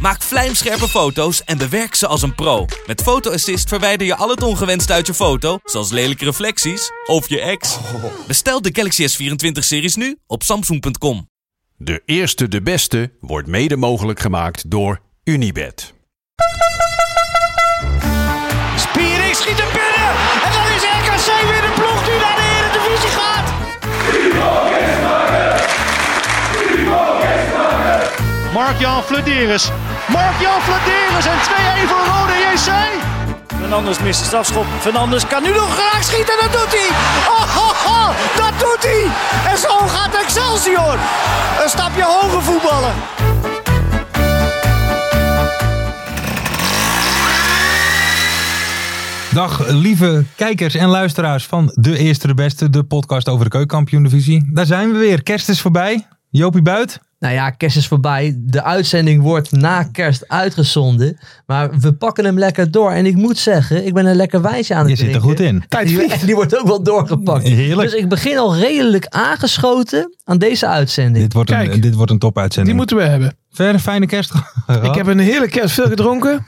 Maak vlijmscherpe foto's en bewerk ze als een pro. Met Photo Assist verwijder je al het ongewenst uit je foto, zoals lelijke reflecties of je ex. Bestel de Galaxy S24-series nu op Samsung.com. De eerste de beste wordt mede mogelijk gemaakt door Unibed. Spiering schiet hem binnen. En dan is RKC weer de ploeg die naar de Eredivisie gaat. Mark-Jan Flederis. Mark-Jan Flederis en 2-1 voor Rode JC. Fernandes mist de strafschop. Fernandes kan nu nog graag schieten. Dat doet hij. Oh, oh, oh, dat doet hij. En zo gaat Excelsior. Een stapje hoger voetballen. Dag lieve kijkers en luisteraars van De Eerste de Beste, de podcast over de keukenkampioen-divisie. Daar zijn we weer. Kerst is voorbij. Jopie Buit. Nou ja, kerst is voorbij. De uitzending wordt na kerst uitgezonden. Maar we pakken hem lekker door. En ik moet zeggen, ik ben een lekker wijsje aan Je het zit er drinken. goed in. En die, en die wordt ook wel doorgepakt. Heerlijk. Dus ik begin al redelijk aangeschoten aan deze uitzending. Dit wordt, een, Kijk. dit wordt een topuitzending. Die moeten we hebben. Verder fijne kerst gehad. Ik heb een hele kerst veel gedronken.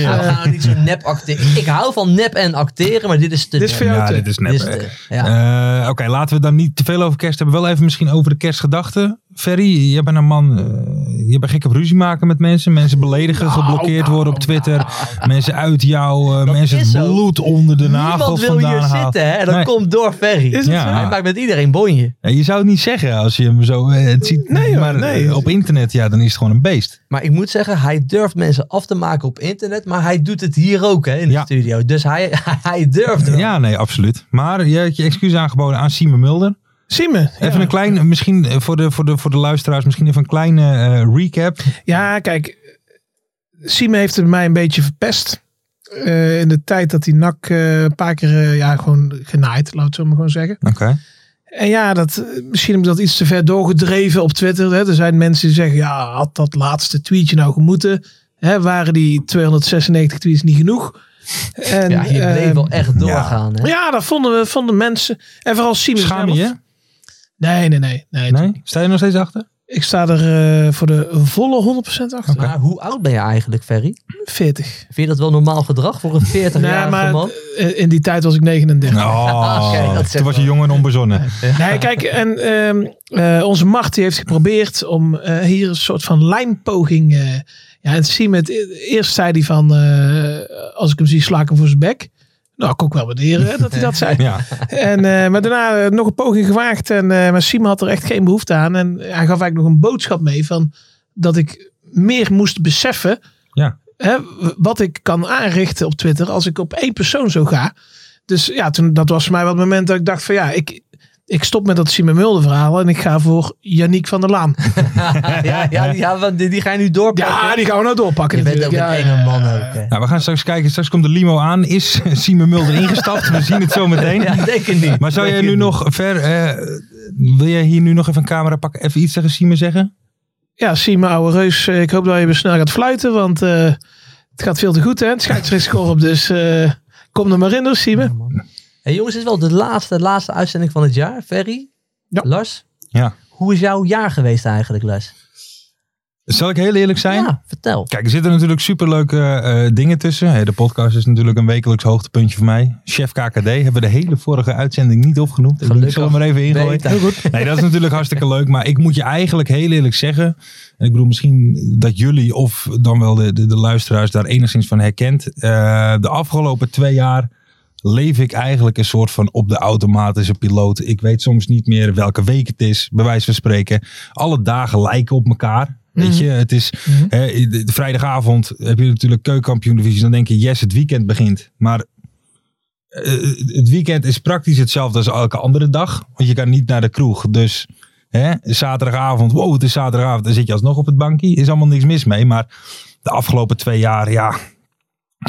Ja. Ja, Nou, we eh, gaan niet zo nep acteren. Ik hou van nep en acteren, maar dit is te dit is nep. voor jou Ja, te- dit is nep. Dit is te- ja. Eh, Oké, laten we het dan niet te veel over kerst hebben. Wel even misschien over de kerstgedachten. Ferry, jij bent een man. eh, je bent gek op ruzie maken met mensen. Mensen beledigen, geblokkeerd worden op Twitter. mensen uitjouwen. Nou, Dat mensen is het zo. bloed onder de nagels Niemand wil vandaan hier halen. zitten, hè? En dat Nee. komt door Ferry. Is het Ja. zo? Hij maakt met iedereen bonje. Ja, je zou het niet zeggen als je hem zo eh, het ziet. Nee, hoor, maar nee. eh, op internet, ja, dan is het gewoon een beest. Maar ik moet zeggen, hij durft mensen af te maken op internet. Maar hij doet het hier ook hè, in de Ja. studio. Dus hij, hij durft wel. Ja, nee, absoluut. Maar je hebt je excuus aangeboden aan Simon Mulder. Simon. Ja. Even een klein, misschien eh, voor de, voor, de, voor de luisteraars, misschien even een kleine eh, recap. Ja, kijk. Simon heeft het mij een beetje verpest. Eh, in de tijd dat hij NAC eh, een paar keer eh, ja, gewoon genaaid, laat het zo maar gewoon zeggen. Oké. En ja, dat, eh, misschien heb ik dat iets te ver doorgedreven op Twitter. Hè. Er zijn mensen die zeggen, ja, had dat laatste tweetje nou gemoeten? Hè, waren die 296 tweets niet genoeg? En, Ja, je bleef eh, wel echt doorgaan. Hè? ja, dat vonden, we, vonden mensen. En vooral Simon Schaam je zelf. je? Nee, nee, nee. nee, Nee? Sta je er nog steeds achter? Ik sta er eh, voor de volle 100% achter. Maar hoe oud ben je eigenlijk, Ferry? 40. Vind je dat wel normaal gedrag voor een 40-jarige Nee, maar man? eh, in die tijd was ik 39. Oh, Oké, dat zegt toen was je wel. jong en onbezonnen. Nee, kijk, en ehm, eh, onze macht die heeft geprobeerd om eh, hier een soort van lijmpoging. eh ja, en Siemet, eerst zei hij van, eh, als ik hem zie, sla ik hem voor zijn bek. Nou, kan ik wel waarderen hè, dat hij dat zei. Ja, En, eh, maar daarna eh, nog een poging gewaagd. En, eh, maar Simon had er echt geen behoefte aan. En hij gaf eigenlijk nog een boodschap mee van dat ik meer moest beseffen Ja. hè, wat ik kan aanrichten op Twitter als ik op één persoon zo ga. Dus ja, toen, dat was voor mij wel het moment dat ik dacht van ja, ik, ik stop met dat Simon Mulder verhaal en ik ga voor Yannick van der Laan. ja, ja, ja, want die, die ga je nu doorpakken. Ja, die gaan we nou doorpakken je bent ook natuurlijk. een ja, enge man ook. Hè? nou, we gaan straks kijken. Straks komt de limo aan. Is Simon Mulder ingestapt? We zien het zo meteen. Ja, denk het niet. Maar zou jij Denk het nu niet. nog ver. eh, wil jij hier nu nog even een camera pakken? Even iets tegen Simon zeggen? Ja, Simon ouwe reus, eh, ik hoop dat je weer snel gaat fluiten, want eh, het gaat veel te goed hè. Het scheidsrechter is score op, dus eh, kom er maar in hoor, Simon. Hey, jongens, dit is wel de laatste, laatste uitzending van het jaar. Ferry, Ja. Lars, Ja. hoe is jouw jaar geweest eigenlijk, Lars? Zal ik heel eerlijk zijn? Ja, vertel. Kijk, er zitten natuurlijk superleuke eh, dingen tussen. Hey, de podcast is natuurlijk een wekelijks hoogtepuntje voor mij. Chef KKD hebben we de hele vorige uitzending niet opgenoemd. Ik Gelukkig. zal hem er even ingooien. Beter. Heel goed. Nee, dat is natuurlijk hartstikke leuk. Maar ik moet je eigenlijk heel eerlijk zeggen. en Ik bedoel misschien dat jullie of dan wel de, de, de luisteraars daar enigszins van herkent. eh, de afgelopen twee jaar leef ik eigenlijk een soort van op de automatische piloot. Ik weet soms niet meer welke week het is, bij wijze van spreken. Alle dagen lijken op elkaar. Weet je, het is hè, de- de vrijdagavond heb je natuurlijk keukenkampioen divisie. Dan denk je, yes, het weekend begint. Maar eh, het weekend is praktisch hetzelfde als elke andere dag. Want je kan niet naar de kroeg. Dus hè, zaterdagavond, wow, het is zaterdagavond. Dan zit je alsnog op het bankje. Is allemaal niks mis mee. Maar de afgelopen twee jaar, ja.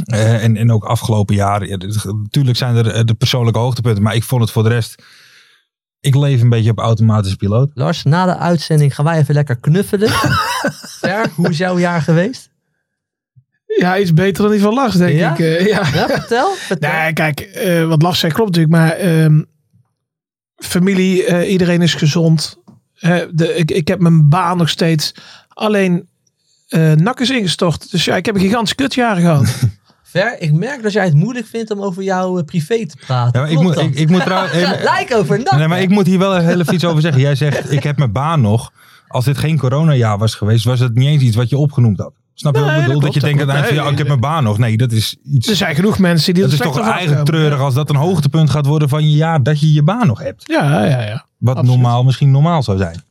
eh, en, en ook afgelopen jaar. Ja, dit- natuurlijk zijn er eh, de persoonlijke hoogtepunten. Maar ik vond het voor de rest Ik leef een beetje op automatische piloot. Lars, na de uitzending gaan wij even lekker knuffelen. Ver, hoe is jouw jaar geweest? Ja, iets beter dan die van Lars, denk Ja? ik. eh, ja. Ja, vertel. vertel. Nee, kijk, eh, wat Lars zei klopt natuurlijk, maar ehm, familie, eh, iedereen is gezond. Hè, de, ik, ik heb mijn baan nog steeds. Alleen eh nak is ingestort. Dus ja, ik heb een gigantisch kutjaar gehad. Ver, ik merk dat jij het moeilijk vindt om over jouw eh, privé te praten. Ja, maar ik, Klopt moet, dat? ik, ik moet trouwens. Ja, lijk over nak. Nee, maar ik moet hier wel heel even iets over zeggen. Jij zegt, ik heb mijn baan nog. Als dit geen coronajaar was geweest, was het niet eens iets wat je opgenoemd had. Snap je Nee, wat ik bedoel? dat Dat, je klopt, denkt dat aan het klopt. van, ja, ik heb mijn baan nog. Nee, dat is iets... er zijn genoeg mensen die dat er is Dus slecht toch van eigenlijk afkomen. treurig als dat een hoogtepunt gaat worden van je jaar dat je je baan nog hebt. Ja, ja, ja. Wat Absoluut. normaal misschien normaal zou zijn.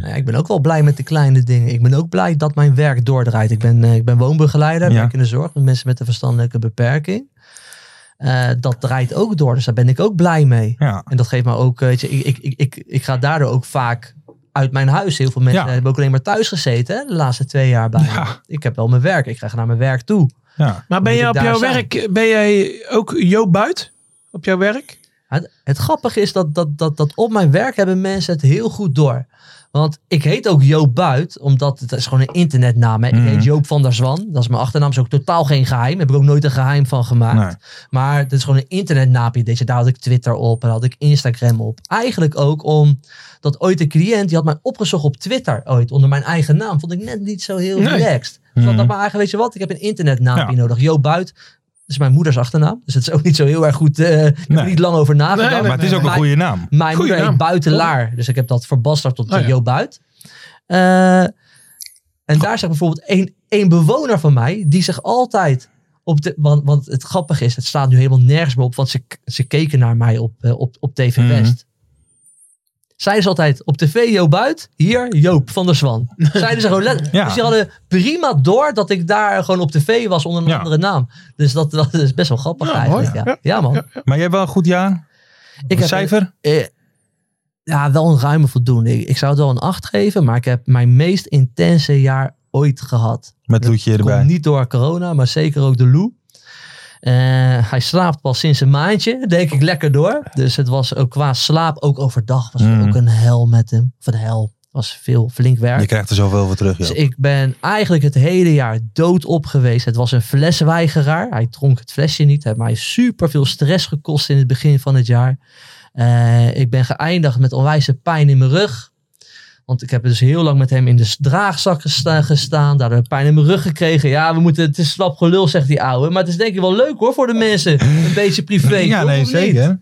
Nou ja, ik ben ook wel blij met de kleine dingen. Ik ben ook blij dat mijn werk doordraait. Ik ben, eh, ik ben woonbegeleider, Ja. werk in de zorg met mensen met een verstandelijke beperking. Eh, dat draait ook door, dus daar ben ik ook blij mee. Ja. En dat geeft me ook, eh, weet je, ik, ik, ik, ik, ik ga daardoor ook vaak uit mijn huis. Heel veel mensen Ja. hebben ook alleen maar thuis gezeten hè, de laatste twee jaar bijna. Ja. Ik heb wel mijn werk, ik ga naar mijn werk toe. ja. Maar ben Moet jij ik op daar jouw zijn? werk, ben jij ook Joop Buit op jouw werk? Het, het grappige is dat, dat, dat, dat op mijn werk hebben mensen het heel goed door. Want ik heet ook Joop Buit, omdat het is gewoon een internetnaam. Hè? Ik Mhm. heet Joop van der Zwan. Dat is mijn achternaam, is ook totaal geen geheim. Heb ik ook nooit een geheim van gemaakt. Nee. Maar het is gewoon een internetnaampje. Deze, daar had ik Twitter op en had ik Instagram op. Eigenlijk ook omdat ooit een cliënt, die had mij opgezocht op Twitter ooit. Onder mijn eigen naam. Vond ik net niet zo heel Nee. relaxed. Dus ik Mhm. dacht maar eigenlijk, weet je wat, ik heb een internetnaampje Ja. nodig. Joop Buit. Dat is mijn moeders achternaam. Dus het is ook niet zo heel erg goed. eh ik heb er Nee. niet lang over nagedacht. Nee, nee, Maar het is ook een Mijn- goede naam. Mijn moeder Goeie heet naam. Buitenlaar. Dus ik heb dat verbasterd tot Oh ja. Joop Buit. Eh, en daar zegt bijvoorbeeld één, één bewoner van mij, die zich altijd op de. Want, want het grappige is, het staat nu helemaal nergens meer op, want ze, ze keken naar mij op, eh, op, op TV Mhm. West. Zij is altijd op tv Joop Buit, hier Joop van der Zwan. Zeiden ze gewoon letterlijk. Ja. Dus die hadden prima door dat ik daar gewoon op tv was onder een Ja. andere naam. Dus dat, dat is best wel grappig Ja, eigenlijk. mooi. Ja. Ja, man. Maar jij hebt wel een goed jaar? Ik Een heb- cijfer? eh, ja, wel een ruime voldoende. Ik, ik zou het wel een 8 geven, maar ik heb mijn meest intense jaar ooit gehad. Met Loetje Komt erbij. niet door corona, maar zeker ook de Lou. Eh, hij slaapt pas sinds een maandje, denk ik, lekker door. Dus het was ook qua slaap, ook overdag, was het Mm. ook een hel met hem. Van hel, was veel flink werk. Je krijgt er zoveel voor terug, Dus joh. ik ben eigenlijk het hele jaar doodop geweest. Het was een flesweigeraar. Hij dronk het flesje niet. Het heeft mij super veel stress gekost in het begin van het jaar. Eh, ik ben geëindigd met onwijze pijn in mijn rug. Want ik heb dus heel lang met hem in de s- draagzak gesta- gestaan. Daardoor heb ik pijn in mijn rug gekregen. Ja, we moeten, het is slap gelul, zegt die ouwe. Maar het is denk ik wel leuk hoor voor de mensen. Een beetje privé. Ja, toch, nee, of niet? zeker.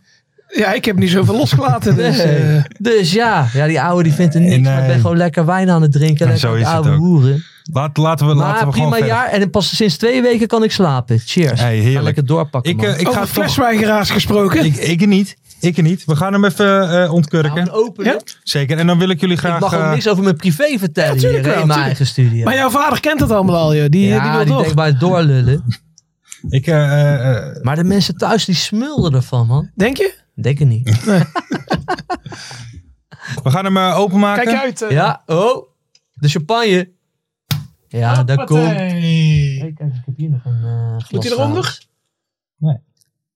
Ja, ik heb niet zoveel losgelaten. Dus, Nee. eh, Dus ja, ja die ouwe die vindt er niks. Nee. Maar ik ben gewoon lekker wijn aan het drinken. Ja, Lekker eh, zo aan is het het ouwe ook. hoeren. Laat, laten we, Maar laten we gewoon verder. prima jaar en pas sinds twee weken kan ik slapen. Cheers. Hey, Ga heerlijk. lekker doorpakken. Ik, man. eh, ik ga over het toch... flesweigeraars gesproken. Ik, ik niet. Ik niet. We gaan hem even eh, Nou, ontkurken. een openen. Ja? Zeker. En dan wil ik jullie graag... ik mag ook eh, niks over mijn privé vertellen Ja, hier tuurlijk in wel, mijn tuurlijk. eigen studio. Maar jouw vader kent het allemaal al, joh. Die, eh, ja, die wil die toch. denkt bij het doorlullen. ik, eh, eh, eh, Maar de mensen thuis die smulden ervan, man. Denk je? Denk het niet. we gaan hem eh, openmaken. Kijk uit. eh. Ja, oh. De champagne. Ja, daar komt. Hey, Hoppatee. kijk, eens, ik heb hier nog een eh, glas Moet die eronder? trouwens.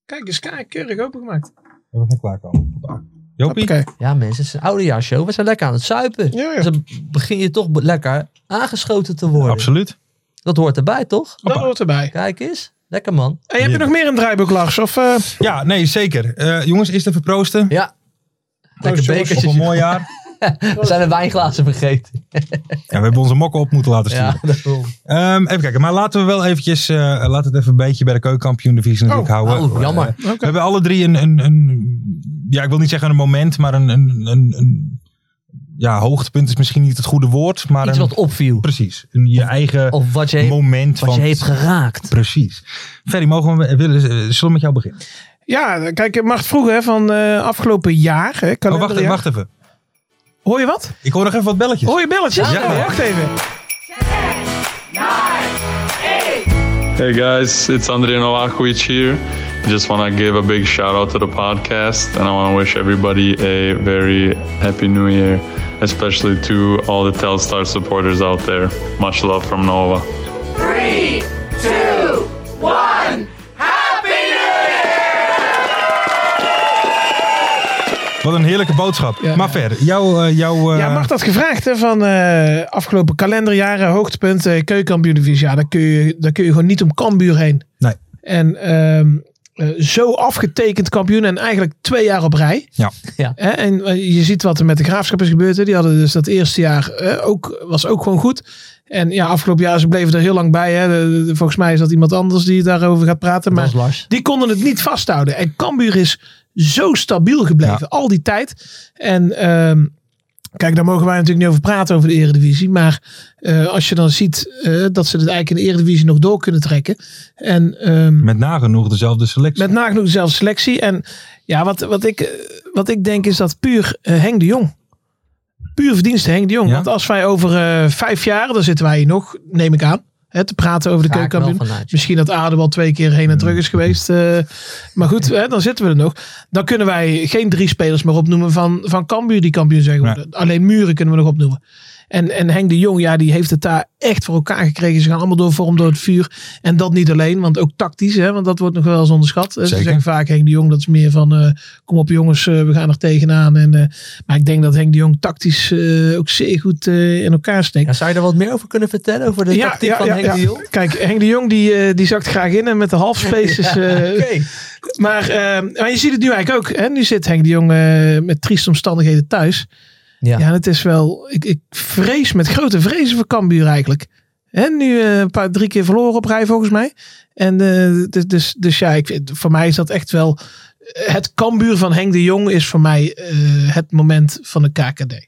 Kijk eens, kijk, keurig opengemaakt. We hebben geen klaarkomen. Jopie, Oké. Ja, mensen, het is een oudejaarsshow. We zijn lekker aan het suipen. Ja, ja. Dus dan begin je toch lekker aangeschoten te worden. absoluut. Dat hoort erbij, toch? Dat hoort erbij. Kijk eens. Lekker, man. En heb je nog meer een draaiboek, Lars? Of, eh, Ja, nee, zeker. Eh, jongens, eerst even proosten. Ja. Proost, Lekker Oh, jongens, bekertje. Op een mooi jaar. We zijn de wijnglazen vergeten. Ja, we hebben onze mokken op moeten laten sturen. Ja, daarom. Ehm, even kijken, maar laten we wel eventjes... eh laten het even een beetje bij de keukenkampioen divisie natuurlijk houden. Oh, jammer. Eh, We hebben alle drie een, een, een... Ja, ik wil niet zeggen een moment, maar een... een, een, een- ja, hoogtepunt is misschien niet het goede woord, maar... Iets een- wat opviel. Precies. Een, je eigen Of wat je, heeft- moment wat van... je heeft geraakt. Precies. Ferry, mogen we, willen, eh, zullen we met jou beginnen? ja, kijk, Mart vroeg hè, van eh, afgelopen jaar. Hè, Oh, wacht, kalenderjaar. even, wacht even. Hoor je wat? Ik hoor nog even wat belletjes. Hoor je belletjes? Ja. Oh, wacht even. Hey guys, it's Andrei Novakovic here. Just want to give a big shout out to the podcast and I want to wish everybody a very happy new year, especially to all the Telstar supporters out there. Much love from Nova. Wat een heerlijke boodschap. Ja. maar ver, jouw... eh, jouw eh, Ja, mag dat gevraagd hè, van eh, afgelopen kalenderjaren, hoogtepunten, eh, keukenkampioen-divisie. Ja, daar kun, je, daar kun je gewoon niet om Cambuur heen. Nee. En ehm, eh, zo afgetekend kampioen en eigenlijk twee jaar op rij. Ja. Ja. Hè, en eh, je ziet wat er met de graafschap is gebeurd. hè. Die hadden dus dat eerste jaar eh, ook, was ook gewoon goed. En ja, afgelopen jaar ze bleven er heel lang bij. Hè. De- de- de- volgens mij is dat iemand anders die daarover gaat praten. Dat Maar was Lars. die konden het niet vasthouden. En Cambuur is zo stabiel gebleven. Ja. Al die tijd. En ehm, kijk, daar mogen wij natuurlijk niet over praten over de eredivisie. Maar eh, als je dan ziet eh, dat ze het eigenlijk in de eredivisie nog door kunnen trekken. En ehm, Met nagenoeg dezelfde selectie. met nagenoeg dezelfde selectie. En ja, wat, wat, ik, eh, wat ik denk is dat puur eh, Henk de Jong. Puur verdienste Henk de Jong. Ja. Want als wij over eh, vijf jaar, dan zitten wij hier nog, neem ik aan. Hè, te praten over de Ga ik wel keukenkampioen. vanuit. Misschien dat Adem al twee keer heen en terug Hmm. is geweest. eh, maar goed, hè, dan zitten we er nog. Dan kunnen wij geen drie spelers meer opnoemen van, van Cambuur die kampioen zijn geworden. Alleen Muren kunnen we nog opnoemen. En, en Henk de Jong, ja, die heeft het daar echt voor elkaar gekregen. Ze gaan allemaal door vorm, door het vuur. En dat niet alleen, want ook tactisch, hè, want dat wordt nog wel eens onderschat. Eh, Ze Zeker. zeggen vaak Henk de Jong, dat is meer van eh, kom op jongens, eh, we gaan er tegenaan. En, eh, maar ik denk dat Henk de Jong tactisch eh, ook zeer goed eh, in elkaar steekt. Ja, zou je er wat meer over kunnen vertellen? Over de tactiek van Henk de Jong? Kijk, Henk de Jong die, eh, die zakt graag in en met de halfspaces. eh Oké. maar, eh, maar je ziet het nu eigenlijk ook. Hè? Nu zit Henk de Jong eh, met trieste omstandigheden thuis. Ja. Ja, en het is wel... Ik, ik vrees met grote vrezen voor Cambuur eigenlijk. En nu eh, een paar, drie keer verloren op rij volgens mij. En eh, dus, dus, dus ja, ik, vind- voor mij is dat echt wel... eh, Het Cambuur van Henk de Jong is voor mij eh, het moment van de KKD.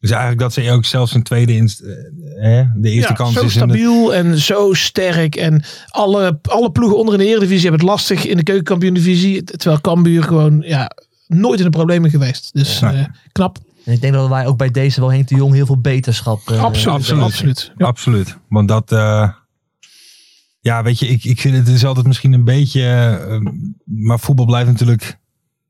Dus eigenlijk dat ze ook zelfs een tweede inst... eh, hè, de eerste ja, kans zo is... in de- stabiel en zo sterk. En alle, alle ploegen onder in de Eredivisie hebben het lastig in de keukenkampioen-divisie. Terwijl Cambuur gewoon ja, nooit in de problemen geweest. Dus Ja. eh, knap. En ik denk dat wij ook bij deze wel Henk de Jong heel veel beterschap eh, absoluut. absoluut. Absoluut. Ja. Absoluut. Want dat. eh, ja, weet je, ik, ik vind het is altijd misschien een beetje. eh, maar voetbal blijft natuurlijk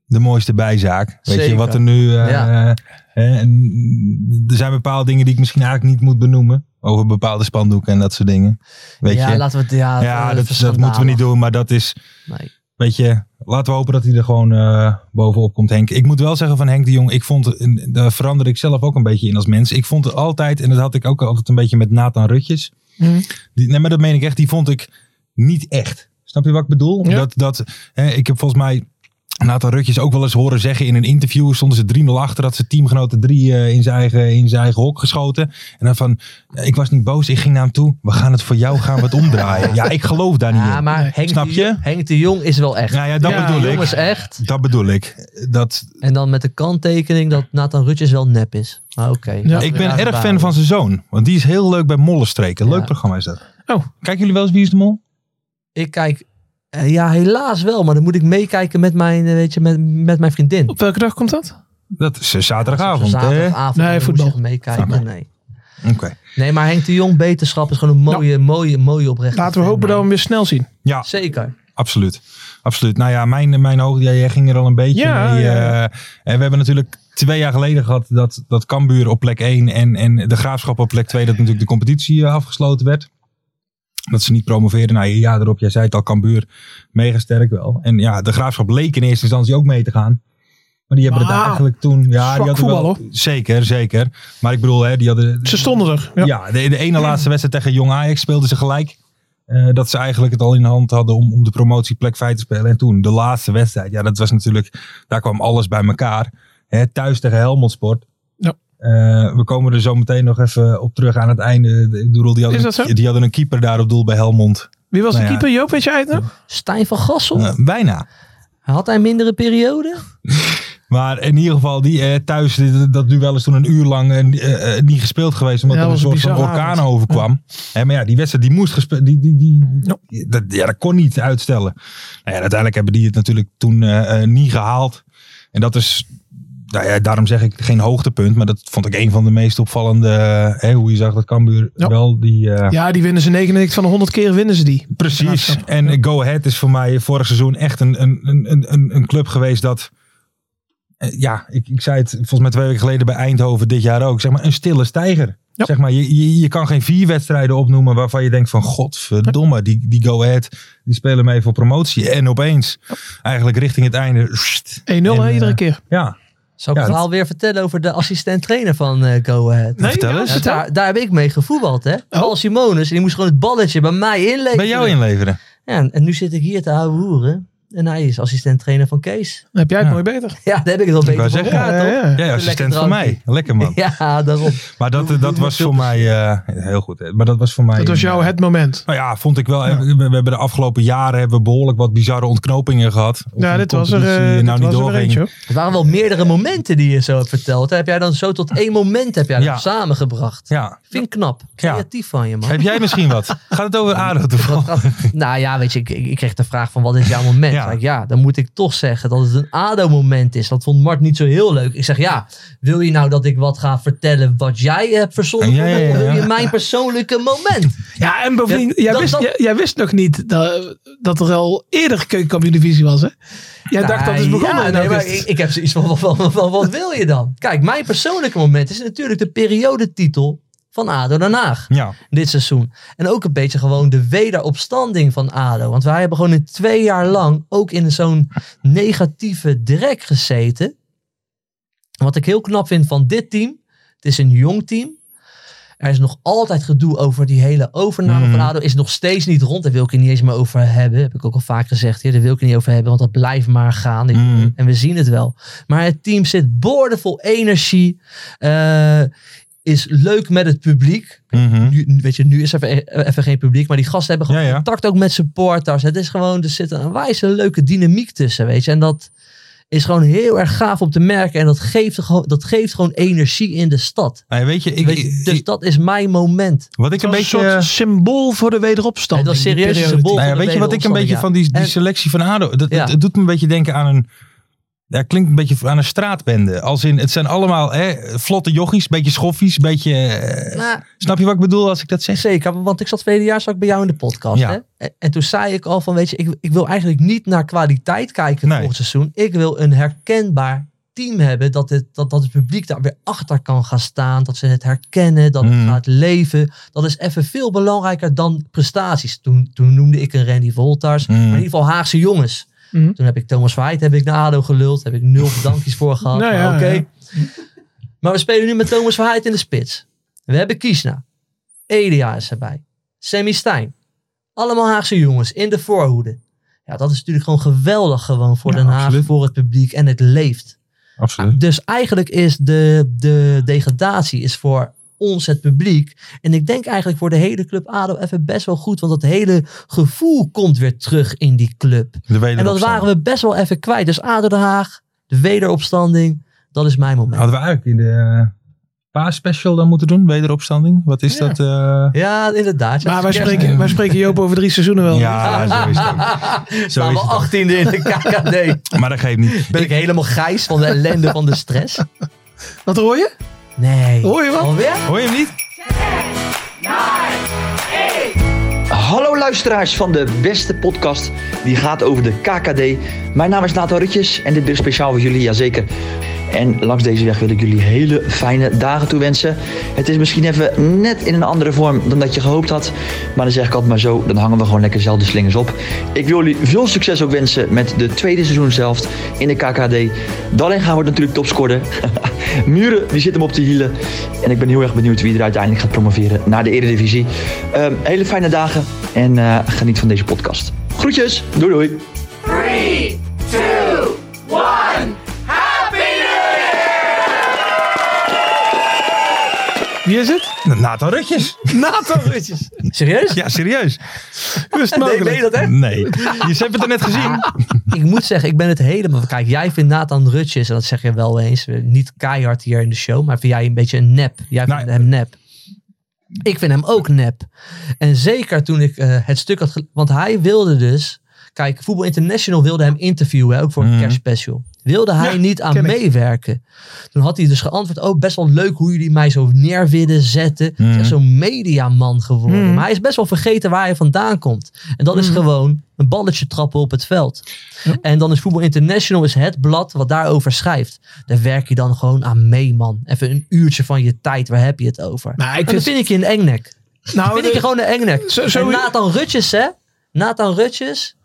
de mooiste bijzaak. Weet je Zeker. wat er nu. eh, Ja. eh, en er zijn bepaalde dingen die ik misschien eigenlijk niet moet benoemen. Over bepaalde spandoeken en dat soort dingen. Weet ja, je. laten we het. Ja, eh, ja, dat, dat verschandalig. moeten we niet doen. Maar dat is. Nee. Weet je, laten we hopen dat hij er gewoon eh, bovenop komt, Henk. Ik moet wel zeggen van Henk de Jong, ik vond, en daar verander ik zelf ook een beetje in als mens. Ik vond het altijd, en dat had ik ook altijd een beetje met Nathan Rutjes. Mhm. Die, nee, maar dat meen ik echt, die vond ik niet echt. Snap je wat ik bedoel? Ja. Dat, dat, hè, ik heb volgens mij Nathan Rutjes ook wel eens horen zeggen in een interview. Stonden ze 3-0 achter, had zijn teamgenoten drie eh, in, zijn eigen, in zijn eigen hok geschoten. En dan van, eh, ik was niet boos, ik ging naar hem toe. We gaan het voor jou, gaan we het omdraaien. ja, ik geloof daar niet in. Ja, maar Henk, Snap de, je? Jong- Henk de Jong is wel echt. Ja, ja, dat Ja, bedoel ik. Jongens, echt. Dat bedoel ik. Dat, En dan met de kanttekening dat Nathan Rutjes wel nep is. Maar oké. laten ik we ben daar erg fan bewaren. van zijn zoon. Want die is heel leuk bij Mollenstreken. Leuk Ja. programma is dat. Oh. Kijken jullie wel eens Wie is de Mol? Ik kijk, eh, ja, helaas wel. Maar dan moet ik meekijken met mijn, eh, weet je, met, met mijn vriendin. Op welke dag komt dat? Dat is eh, zaterdagavond. hè? Zaterdagavond. Nee, dan moet voetbal. je meekijken. Oké. Nee. Oké. nee, maar Henk de Jong, beterschap is gewoon een mooie, mooie, mooie oprechte. Nou, Laten we fan, hopen man. dat we hem weer snel zien. Ja, Zeker. absoluut. Absoluut. Nou ja, mijn, mijn hoog, jij, jij ging er al een beetje Ja, mee. ja, eh, en we hebben natuurlijk twee jaar geleden gehad dat, dat Kambuur op plek 1 en, en de Graafschap op plek 2, dat natuurlijk de competitie eh, afgesloten werd. Dat ze niet promoveerden. Nou ja, erop, jij zei het al, Kambuur mega sterk wel. En ja, de Graafschap leek in eerste instantie ook mee te gaan. Maar die hebben het Ah, eigenlijk toen... Ja, die zwak hadden voetbal, wel, Zeker, zeker. Maar ik bedoel, hè, die hadden... Ze stonden er. Ja. Ja, de, de ene laatste wedstrijd tegen Jong Ajax speelden ze gelijk. Eh, dat ze eigenlijk het al in hand hadden om, om de promotieplek vrij te spelen. En toen, de laatste wedstrijd. Ja, dat was natuurlijk... Daar kwam alles bij elkaar. Hè, thuis tegen Helmond Sport. Ja. Eh, we komen er zo meteen nog even op terug aan het einde. Ik bedoel, die hadden, Is dat zo? Een, die hadden een keeper daar op doel bij Helmond. Wie was Nou de ja. keeper? Joop, weet je uit nog? Stijn van Gassel. Eh, bijna. Had hij mindere periode? Maar in ieder geval, die eh, thuis, dit- dat duel is toen een uur lang eh, eh, niet gespeeld geweest. Omdat Ja, er een was een soort van bizarre orkaan avond. overkwam. Hè, maar ja, die wedstrijd die moest gespeeld. Die, die, die, dat, ja, dat kon niet uitstellen. Nou ja, uiteindelijk hebben die het natuurlijk toen eh, eh, niet gehaald. En dat is, nou ja, daarom zeg ik geen hoogtepunt. Maar dat vond ik een van de meest opvallende. eh, hè, hoe je zag dat Cambuur Ja. wel die. eh, Ja, die winnen ze 99 van de 100 keer winnen ze die. Precies. Graafschap. En Go Ahead is voor mij vorig seizoen echt een, een, een, een- een, een club geweest dat. eh, Ja, ik, ik zei het volgens mij twee weken geleden bij Eindhoven dit jaar ook. Zeg maar een stille stijger. Ja. Zeg maar, je, je, je kan geen vier wedstrijden opnoemen waarvan je denkt van godverdomme, die, die Go Ahead, die spelen mee voor promotie. En opeens, eigenlijk richting het einde, sst, 1-0 hè, En, eh, iedere keer. ja. Zal ik Ja, het dat- verhaal weer vertellen over de assistent-trainer van eh, Go Ahead? Nee, Vertel ja, eens. Ja, daar, daar heb ik mee gevoetbald, Oh. hè? Paul Simonis, en die moest gewoon het balletje bij mij inleveren. Bij jou inleveren. Ja, en, en nu zit ik hier te ouwe hoeren. En hij is assistent-trainer van Kees. Dan heb jij het Ja. mooi beter. Ja, daar heb ik het al beter wou voor zeggen, elkaar, Ja, toch? ja, ja. Jij assistent van drankje. mij. Lekker man. Ja, daarom. Maar dat, dat was voor mij eh, heel goed. hè. Maar dat was voor mij. Dat was jouw het moment. Nou ja, vond ik wel. We, we hebben de afgelopen jaren hebben we behoorlijk wat bizarre ontknopingen gehad. Of Ja, die dit was er, competitie, eh, eh, dit nou niet was er doorging. eentje. hoor. Er waren wel meerdere momenten die je zo hebt verteld. Heb jij dan zo tot één moment heb jij dat Ja. samengebracht? Ja. Vind ik knap. Creatief van je, man. Heb jij misschien wat? Gaat het over ADO toevallig? nou ja, weet je, ik, ik, ik kreeg de vraag van wat is jouw moment? Ja. Ja. ja, dan moet ik toch zeggen dat het een ADO-moment is. Dat vond Mart niet zo heel leuk. Ik zeg, ja, wil je nou dat ik wat ga vertellen wat jij hebt verzonnen? Ja, ja, ja, Of wil ja. je mijn persoonlijke moment? Ja, en bovendien, Ja, jij, dat- wist, dat- jij, jij wist nog niet dat, dat er al eerder keukenkampioen-divisie was, hè? Jij dacht dat het is Nou, begonnen ja, in nee, maar augustus. ik, ik heb zoiets van, van, van, van, wat wil je dan? Kijk, mijn persoonlijke moment is natuurlijk de periodetitel van ADO Den Haag. Ja. dit seizoen. En ook een beetje gewoon de wederopstanding van ADO. Want wij hebben gewoon in twee jaar lang ook in zo'n negatieve drek gezeten. Wat ik heel knap vind van dit team. Het is een jong team. Er is nog altijd gedoe over die hele overname van ADO. Is nog steeds niet rond. Daar wil ik het niet eens meer over hebben. Heb ik ook al vaak gezegd. Hier, daar wil ik het niet over hebben. Want dat blijft maar gaan. Mm. En we zien het wel. Maar het team zit boordevol energie. eh, is leuk met het publiek. Mhm. Nu, weet je, nu is er even, eh, even geen publiek, maar die gasten hebben gewoon Ja, ja. contact ook met supporters. Het is gewoon, er zit een wijze leuke dynamiek tussen, weet je. En dat is gewoon heel erg gaaf om te merken. En dat geeft, gewoon- dat geeft gewoon energie in de stad. Nou, weet je, ik, Weet je, dus ik- dat is mijn moment. wat ik een Het was beetje. een soort eh, symbool voor de wederopstand. Het was serieus een symbool. nou ja, weet je wat ik een beetje van die, die En- selectie van ADO... Dat, Ja. het, het doet me een beetje denken aan een... Ja, klinkt een beetje aan een straatbende. Als in, het zijn allemaal hè, vlotte jochies, beetje schoffies, beetje... eh, Nou, snap je wat ik bedoel als ik dat zeg? zeker, want ik zat verleden jaar zat ik bij jou in de podcast. Ja. Hè? En, en toen zei ik al van, weet je, ik, ik wil eigenlijk niet naar kwaliteit kijken Nee. volgend seizoen. Ik wil een herkenbaar team hebben dat het, dat, dat het publiek daar weer achter kan gaan staan. Dat ze het herkennen, dat Mm. het gaat leven. Dat is even veel belangrijker dan prestaties. Toen, toen noemde ik een Randy Voltars, Mm. maar in ieder geval Haagse jongens. Mhm. Toen heb ik Thomas White heb ik naar ADO geluld. Heb ik nul bedankjes voor gehad. Nou maar ja, oké. ja. Maar we spelen nu met Thomas Verheid in de spits. We hebben Kiesna. Elia is erbij. Sammy Stijn. Allemaal Haagse jongens in de voorhoede. Ja, dat is natuurlijk gewoon geweldig gewoon voor Ja, Den Haag, absoluut. voor het publiek. En het leeft. Absoluut. Dus eigenlijk is de, de degradatie is voor ons het publiek. En ik denk eigenlijk voor de hele club ADO even best wel goed. Want dat hele gevoel komt weer terug in die club. De En dat waren we best wel even kwijt. Dus ADO Den Haag, de wederopstanding. Dat is mijn moment. Hadden we eigenlijk in de special dan moeten doen, wederopstanding? Wat is Ja. dat? eh? Ja, inderdaad. Ja, Maar wij het is kerst. spreken, wij spreken Joop over drie seizoenen wel. Ja, zo is het ook. Zo Staan is we het ook. 18e in de KKD. Maar dat geeft niet. Ben ik helemaal gijs van de ellende van de stress? Wat hoor je? Nee. Hoor je wat? Alweer? Hoor je hem niet? Hallo luisteraars van de beste podcast die gaat over de KKD. Mijn naam is Nato Rutjes en dit weer speciaal voor jullie, jazeker. En langs deze weg wil ik jullie hele fijne dagen toewensen. Het is misschien even net in een andere vorm dan dat je gehoopt had. Maar dan zeg ik altijd maar zo, dan hangen we gewoon lekker zelf de slingers op. Ik wil jullie veel succes ook wensen met de tweede seizoenshelft in de KKD. Daarin gaan we natuurlijk topscoren. Muren, die zit hem op de hielen. En ik ben heel erg benieuwd wie er uiteindelijk gaat promoveren naar de Eredivisie. Ehm, hele fijne dagen en eh, geniet van deze podcast. Groetjes, doei doei. Wie is het? Nathan Rutjes. Nato Rutjes. Serieus? Ja, serieus. Hoe is het mogelijk? Nee, dat hè? Nee. Je hebt het er net gezien. Ik moet zeggen, ik ben het helemaal... Kijk, jij vindt Nathan Rutjes, en dat zeg je wel eens, eh, niet keihard hier in de show, maar vind jij een beetje een nep. Jij vindt Nee. hem nep. Ik vind hem ook nep. En zeker toen ik eh, het stuk had... gele- Want hij wilde dus... Kijk, Voetbal International wilde hem interviewen, hè, ook voor een Mhm. kerstspecial. Wilde hij Ja, niet aan ken ik. meewerken. Toen had hij dus geantwoord, oh best wel leuk hoe jullie mij zo neer willen zetten. Hij is echt zo'n mediaman geworden. Mhm. Maar hij is best wel vergeten waar hij vandaan komt. En dat is gewoon een balletje trappen op het veld. En dan is Voetbal International is het blad wat daarover schrijft. Daar werk je dan gewoon aan mee, man. Even een uurtje van je tijd, waar heb je het over? Nou, ik en dan vind, vind ik je een engnek. nou, Vind ik je gewoon een engnek. Zo- zo- en Nathan Rutjes, hè? Nathan Rutjes.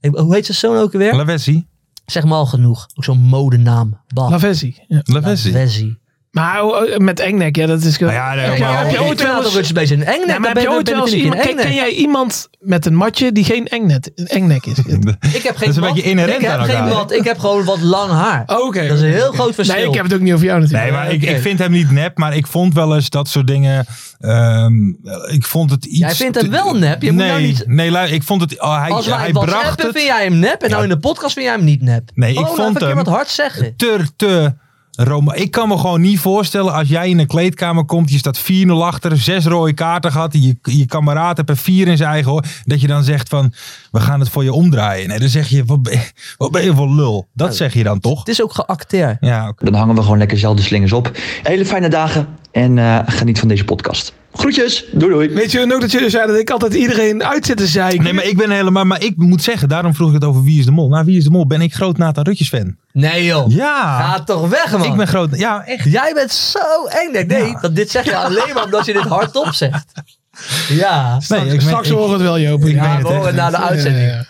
Ik- Hoe heet zijn zoon ook weer? Lavessi. Zeg maar al genoeg. Ook zo'n modenaam. Bah. Lavezzi. Ja. Lavezzi. Lavezzi. Maar oh, met Engnek, ja, dat is gewoon... Nou ja, nee, Kijk, maar- heb je Oh, Ik ooit wel praat eens- over het bij zijn engnek. Nee, maar Dan heb je ben- ooit ben wel eens ik iemand... een Kijk, ken engnek. jij iemand met een matje die geen engnet, engnek is? Ik heb geen Dat is een mat. beetje inherent Ik heb aan elkaar, geen hè? mat. Ik heb gewoon wat lang haar. Oh, oké. Dat is een heel groot verschil. Nee, ik heb het ook niet over jou natuurlijk. Nee, maar ik, Oké. ik vind hem niet nep, maar ik vond wel eens dat soort dingen. ehm, ik vond het iets. Jij vindt hem te- wel nep, je moet nee, nou niet- nee, lui- ik vond het. oh, hij Als wij hij WhatsAppen bracht het vind jij hem nep en nou in de podcast vind jij hem niet nep. Nee, ik oh, laat vond een keer hem- wat hard zeggen. te, te Roma. Ik kan me gewoon niet voorstellen als jij in een kleedkamer komt, je staat 4-0 achter, zes rode kaarten gehad, je, je kameraad hebt er vier in zijn eigen hoor, dat je dan zegt van, we gaan het voor je omdraaien. Nee, dan zeg je, wat ben, wat ben je voor lul? Dat zeg je dan toch? Het is ook geacteerd. Ja, oké. Dan hangen we gewoon lekker zelf de slingers op. Hele fijne dagen en eh, geniet van deze podcast. Groetjes, doei doei. Weet je ook dat jullie zeiden dat ik altijd iedereen uit zit te zeiken? Nee, maar ik ben helemaal, maar ik moet zeggen, daarom vroeg ik het over Wie is de Mol. Nou, Wie is de Mol ben ik groot Nathan Rutjes fan. Nee joh. Ja, Ga toch weg man. ik ben groot, ja echt. Jij bent zo engnek. Nee, dat, dit zeg je alleen maar omdat je dit hardop zegt. Ja. Nee, ik ben- Straks ik- horen we het wel, Joop. ik weet Ja, het we echt horen na de Ja, uitzending. ja, ja.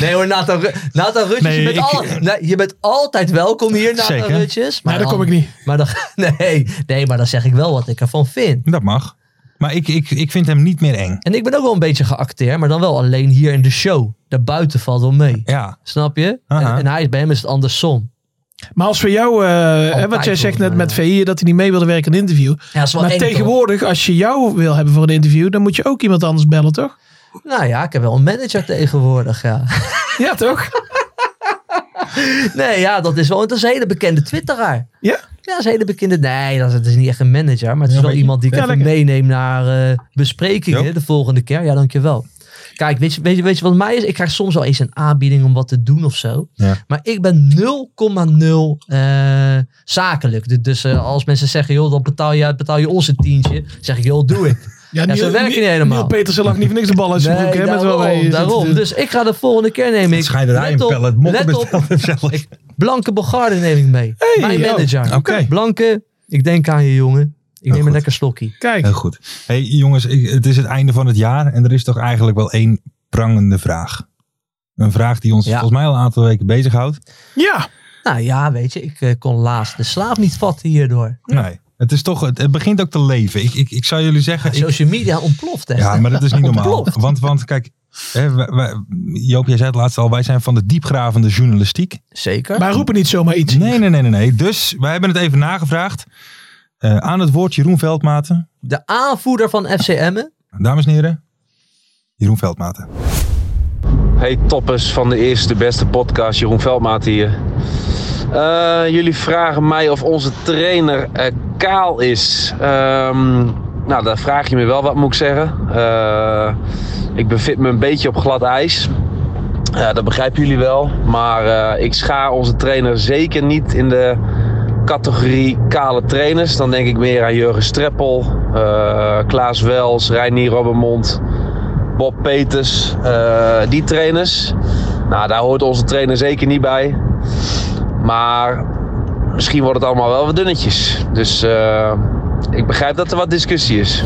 Nee hoor, Nathan, Ru- Nathan Rutjes, Nee, je, bent ik- al- nee, je bent altijd welkom hier, Nathan Zeker. Rutjes. Maar daar kom ik niet. Maar dan, nee, nee, maar dan zeg ik wel wat ik ervan vind. Dat mag. Maar ik, ik, ik vind hem niet meer eng. En ik ben ook wel een beetje geacteerd, maar dan wel alleen hier in de show. Daarbuiten valt wel mee. Ja, Snap je? Aha. En, en hij, bij hem is het andersom. Maar als we jou, eh, hè, want jij volgens zegt mij, net met ja. VI dat hij niet mee wilde werken in een interview. Ja, eh. dat is wel Maar eng, toch? tegenwoordig, als je jou wil hebben voor een interview, dan moet je ook iemand anders bellen, toch? Nou ja, ik heb wel een manager tegenwoordig, ja. Ja, toch? Nee, ja, dat is wel. Dat is een hele bekende twitteraar. Ja. Ja, dat is een hele bekende. Nee, dat is, het is niet echt een manager, maar het is wel iemand die ik Ja, even lekker. meeneem naar eh, besprekingen Jo. de volgende keer. Ja, dankjewel. Kijk, weet je, weet, je, weet je wat mij is? Ik krijg soms wel eens een aanbieding om wat te doen of zo. Ja. Maar ik ben 0,0 eh, zakelijk. Dus- Dus eh, als mensen zeggen, joh, dan betaal je, betaal je ons een tientje. zeg ik, joh, doe ik. Ja, zo werkt het niet helemaal. Niel Petersen lag niet voor niks de bal uit zijn broek. hè, met wel daarom, daarom. Dus ik ga de volgende keer nemen. Ik scheiderij let een op, pellet mokken let op, besteld zelf. Blanke Bogarde neem ik mee. Mijn oh, manager. oké. Blanke, ik denk aan je jongen. Nou, Ik neem goed. een lekker slokkie. Kijk, Heel goed. hey, jongens, ik- het is het einde van het jaar en er is toch eigenlijk wel één prangende vraag. Een vraag die ons Ja. volgens mij al een aantal weken bezighoudt. ja. Nou ja, weet je, ik eh, kon laatst de slaap niet vatten hierdoor. Nee, het, is toch, het, het begint ook te leven. Ik, ik, ik zou jullie zeggen... ik- Social media ontploft echt. ja, maar dat is niet normaal. Ontploft. Want, want kijk, hè, wij- wij- Joop, jij zei het laatst al, wij zijn van de diepgravende journalistiek. Zeker. Wij roepen niet zomaar iets. Nee, nee, nee, nee. nee. Dus wij hebben het even nagevraagd. Eh, aan het woord Jeroen Veldmaten. De aanvoerder van FC Emmen. Dames en heren, Jeroen Veldmaten. Hey toppers van de eerste beste podcast, Jeroen Veldmaat hier. Eh, jullie vragen mij of onze trainer eh, kaal is. Ehm, nou, daar vraag je me wel wat, moet ik zeggen. Eh, ik bevind me een beetje op glad ijs. Eh, dat begrijpen jullie wel. Maar eh, ik schaar onze trainer zeker niet in de categorie kale trainers. Dan denk ik meer aan Jurgen Streppel, eh, Klaas Wels, Reinier Robbermond. Bob Peters, eh, die trainers. Nou, daar hoort onze trainer zeker niet bij. Maar misschien wordt het allemaal wel wat dunnetjes. Dus eh, ik begrijp dat er wat discussie is.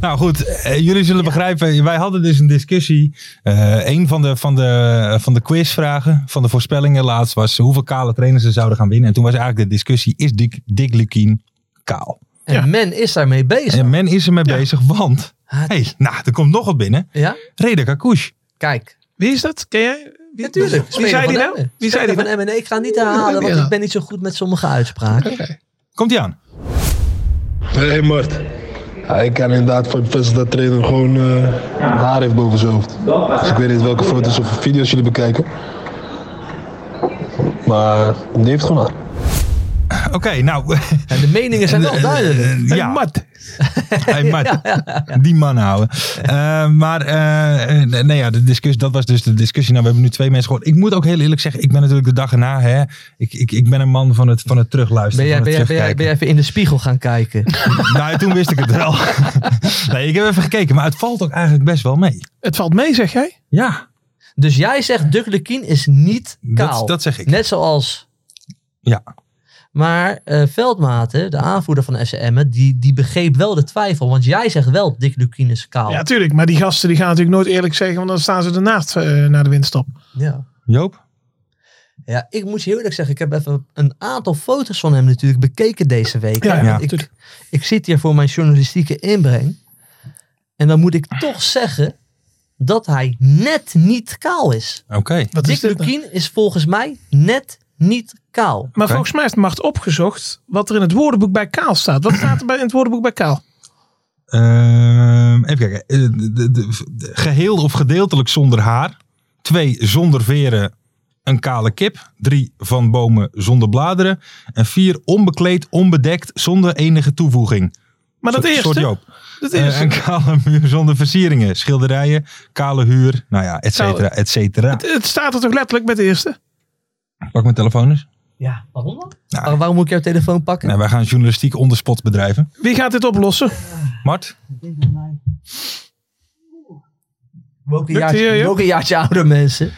Nou goed, eh, jullie zullen begrijpen, wij hadden dus een discussie. Eh een van de, van, de, van de quizvragen, van de voorspellingen laatst was hoeveel kale trainers er zouden gaan winnen. En toen was eigenlijk de discussie, is Dick, Dick Lukien kaal? En men is daarmee bezig. En men is ermee bezig, want, Ah, hey, nou, er komt nog wat binnen. Ja, Reda Kakouche. kijk. Wie is dat? Ken jij? Wie, Natuurlijk. Wie zei die nou? Wie zei die van nou? Emmen. Nee, ik ga het niet herhalen, want ik ben niet zo goed met sommige uitspraken. Komt hij aan? Hey Mart. Ja, ik kan inderdaad van vissen dat trainer gewoon eh, haar heeft boven zijn hoofd. Dus ik weet niet welke foto's of video's jullie bekijken. Maar die heeft gewoon haar. Oké, nou, En de meningen zijn eh, wel duidelijk. ja. Mat. Hey, Mart. Die man houden. Eh, maar eh, eh, nee, ja, de discussie, dat was dus de discussie. Nou, we hebben nu twee mensen gehoord. Ik moet ook heel eerlijk zeggen, ik ben natuurlijk de dag erna. Hè, ik, ik, ik ben een man van het, van het Ben terugluisteren. jij, van ben, het jij, ben, jij, ben jij even in de spiegel gaan kijken? terugkijken. Nou, toen wist ik het wel. nee, ik heb even gekeken. Maar het valt ook eigenlijk best wel mee. Het valt mee, zeg jij? Ja, Dus jij zegt Duck Lukien is niet kaal. dat, dat zeg ik. Net zoals. Ja. Maar eh, Veldmaten, de aanvoerder van SCM, die, die begreep wel de twijfel. Want jij zegt wel Dick Lukien is kaal. Ja, tuurlijk. Maar die gasten die gaan natuurlijk nooit eerlijk zeggen, want dan staan ze ernaast eh naar de winststop. ja. Joop? Ja, ik moet je heel eerlijk zeggen, ik heb even een aantal foto's van hem natuurlijk bekeken deze week. Ja, hè, ja, want ik, tuurlijk. ik zit hier voor mijn journalistieke inbreng. En dan moet ik toch zeggen dat hij net niet kaal is. Oké. Wat Dick is dit? Lukien is volgens mij net niet kaal. Maar volgens mij is Mart opgezocht wat er in het woordenboek bij Kaal staat. Wat staat er bij, in het woordenboek bij Kaal? Ehm, even kijken. Eh, de- de- de- de- geheel of gedeeltelijk zonder haar. Twee zonder veren. Een kale kip. Drie van bomen zonder bladeren. En vier onbekleed, onbedekt, zonder enige toevoeging. Maar dat Zo- soort eerste, Joop. dat Eh, eerste. een kale muur zonder versieringen. Schilderijen, kale huur, nou ja, et cetera, et cetera. Het staat er toch letterlijk bij de eerste? Pak mijn telefoon eens. Ja, waarom dan? Nou. Waar- waarom moet ik jouw telefoon pakken? Nee, Nou, wij gaan journalistiek onder spot bedrijven. Wie gaat dit oplossen? Mart? We ook een Lukt jaartje, die, we joh? ook een jaartje ouder mensen.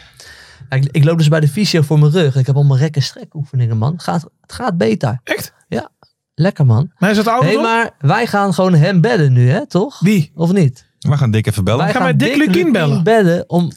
Ja, ik, ik loop dus bij de fysio voor mijn rug. Ik heb allemaal rek- en strekoefeningen, man. Gaat, het gaat beter. Echt? Lekker, man. Maar is het ouder? hey, dan? maar wij gaan gewoon hem bedden nu, hè? Toch? Wie? Of niet? We gaan Dick even bellen. Wij gaan wij Dick Lukien bellen? om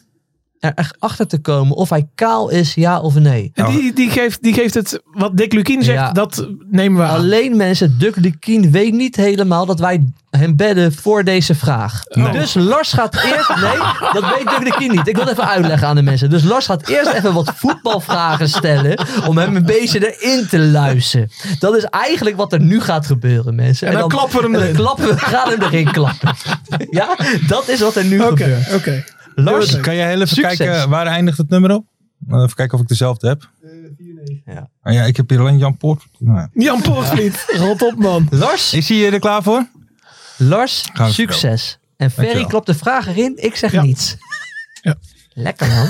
er echt achter te komen of hij kaal is, ja of nee. En die, die, geeft, die geeft het, wat Dick Lukien zegt, Ja. dat nemen we aan. Alleen mensen, Dick Lukien weet niet helemaal dat wij hem bedden voor deze vraag. Nee. Dus Lars gaat eerst... Nee, dat weet Dick Lukien niet. Ik wil het even uitleggen aan de mensen. Dus Lars gaat eerst even wat voetbalvragen stellen om hem een beetje erin te luisteren. Dat is eigenlijk wat er nu gaat gebeuren, mensen. En dan klappen we hem en dan erin. klappen we, gaan hem erin klappen. Ja, dat is wat er nu Oké, gebeurt. oké. Lars, kan jij heel even Succes. kijken, waar eindigt het nummer op? Eh, Even kijken of ik dezelfde heb. Ja. Ah ja, ik heb hier alleen Jan Poort. Nou ja. Jan Poortvliet, rot op man. Lars, Is hij er klaar voor? Lars, Gaan we succes. En Ferry Dankjewel. klopt de vraag erin. Ik zeg Ja. niets. Ja. Lekker man.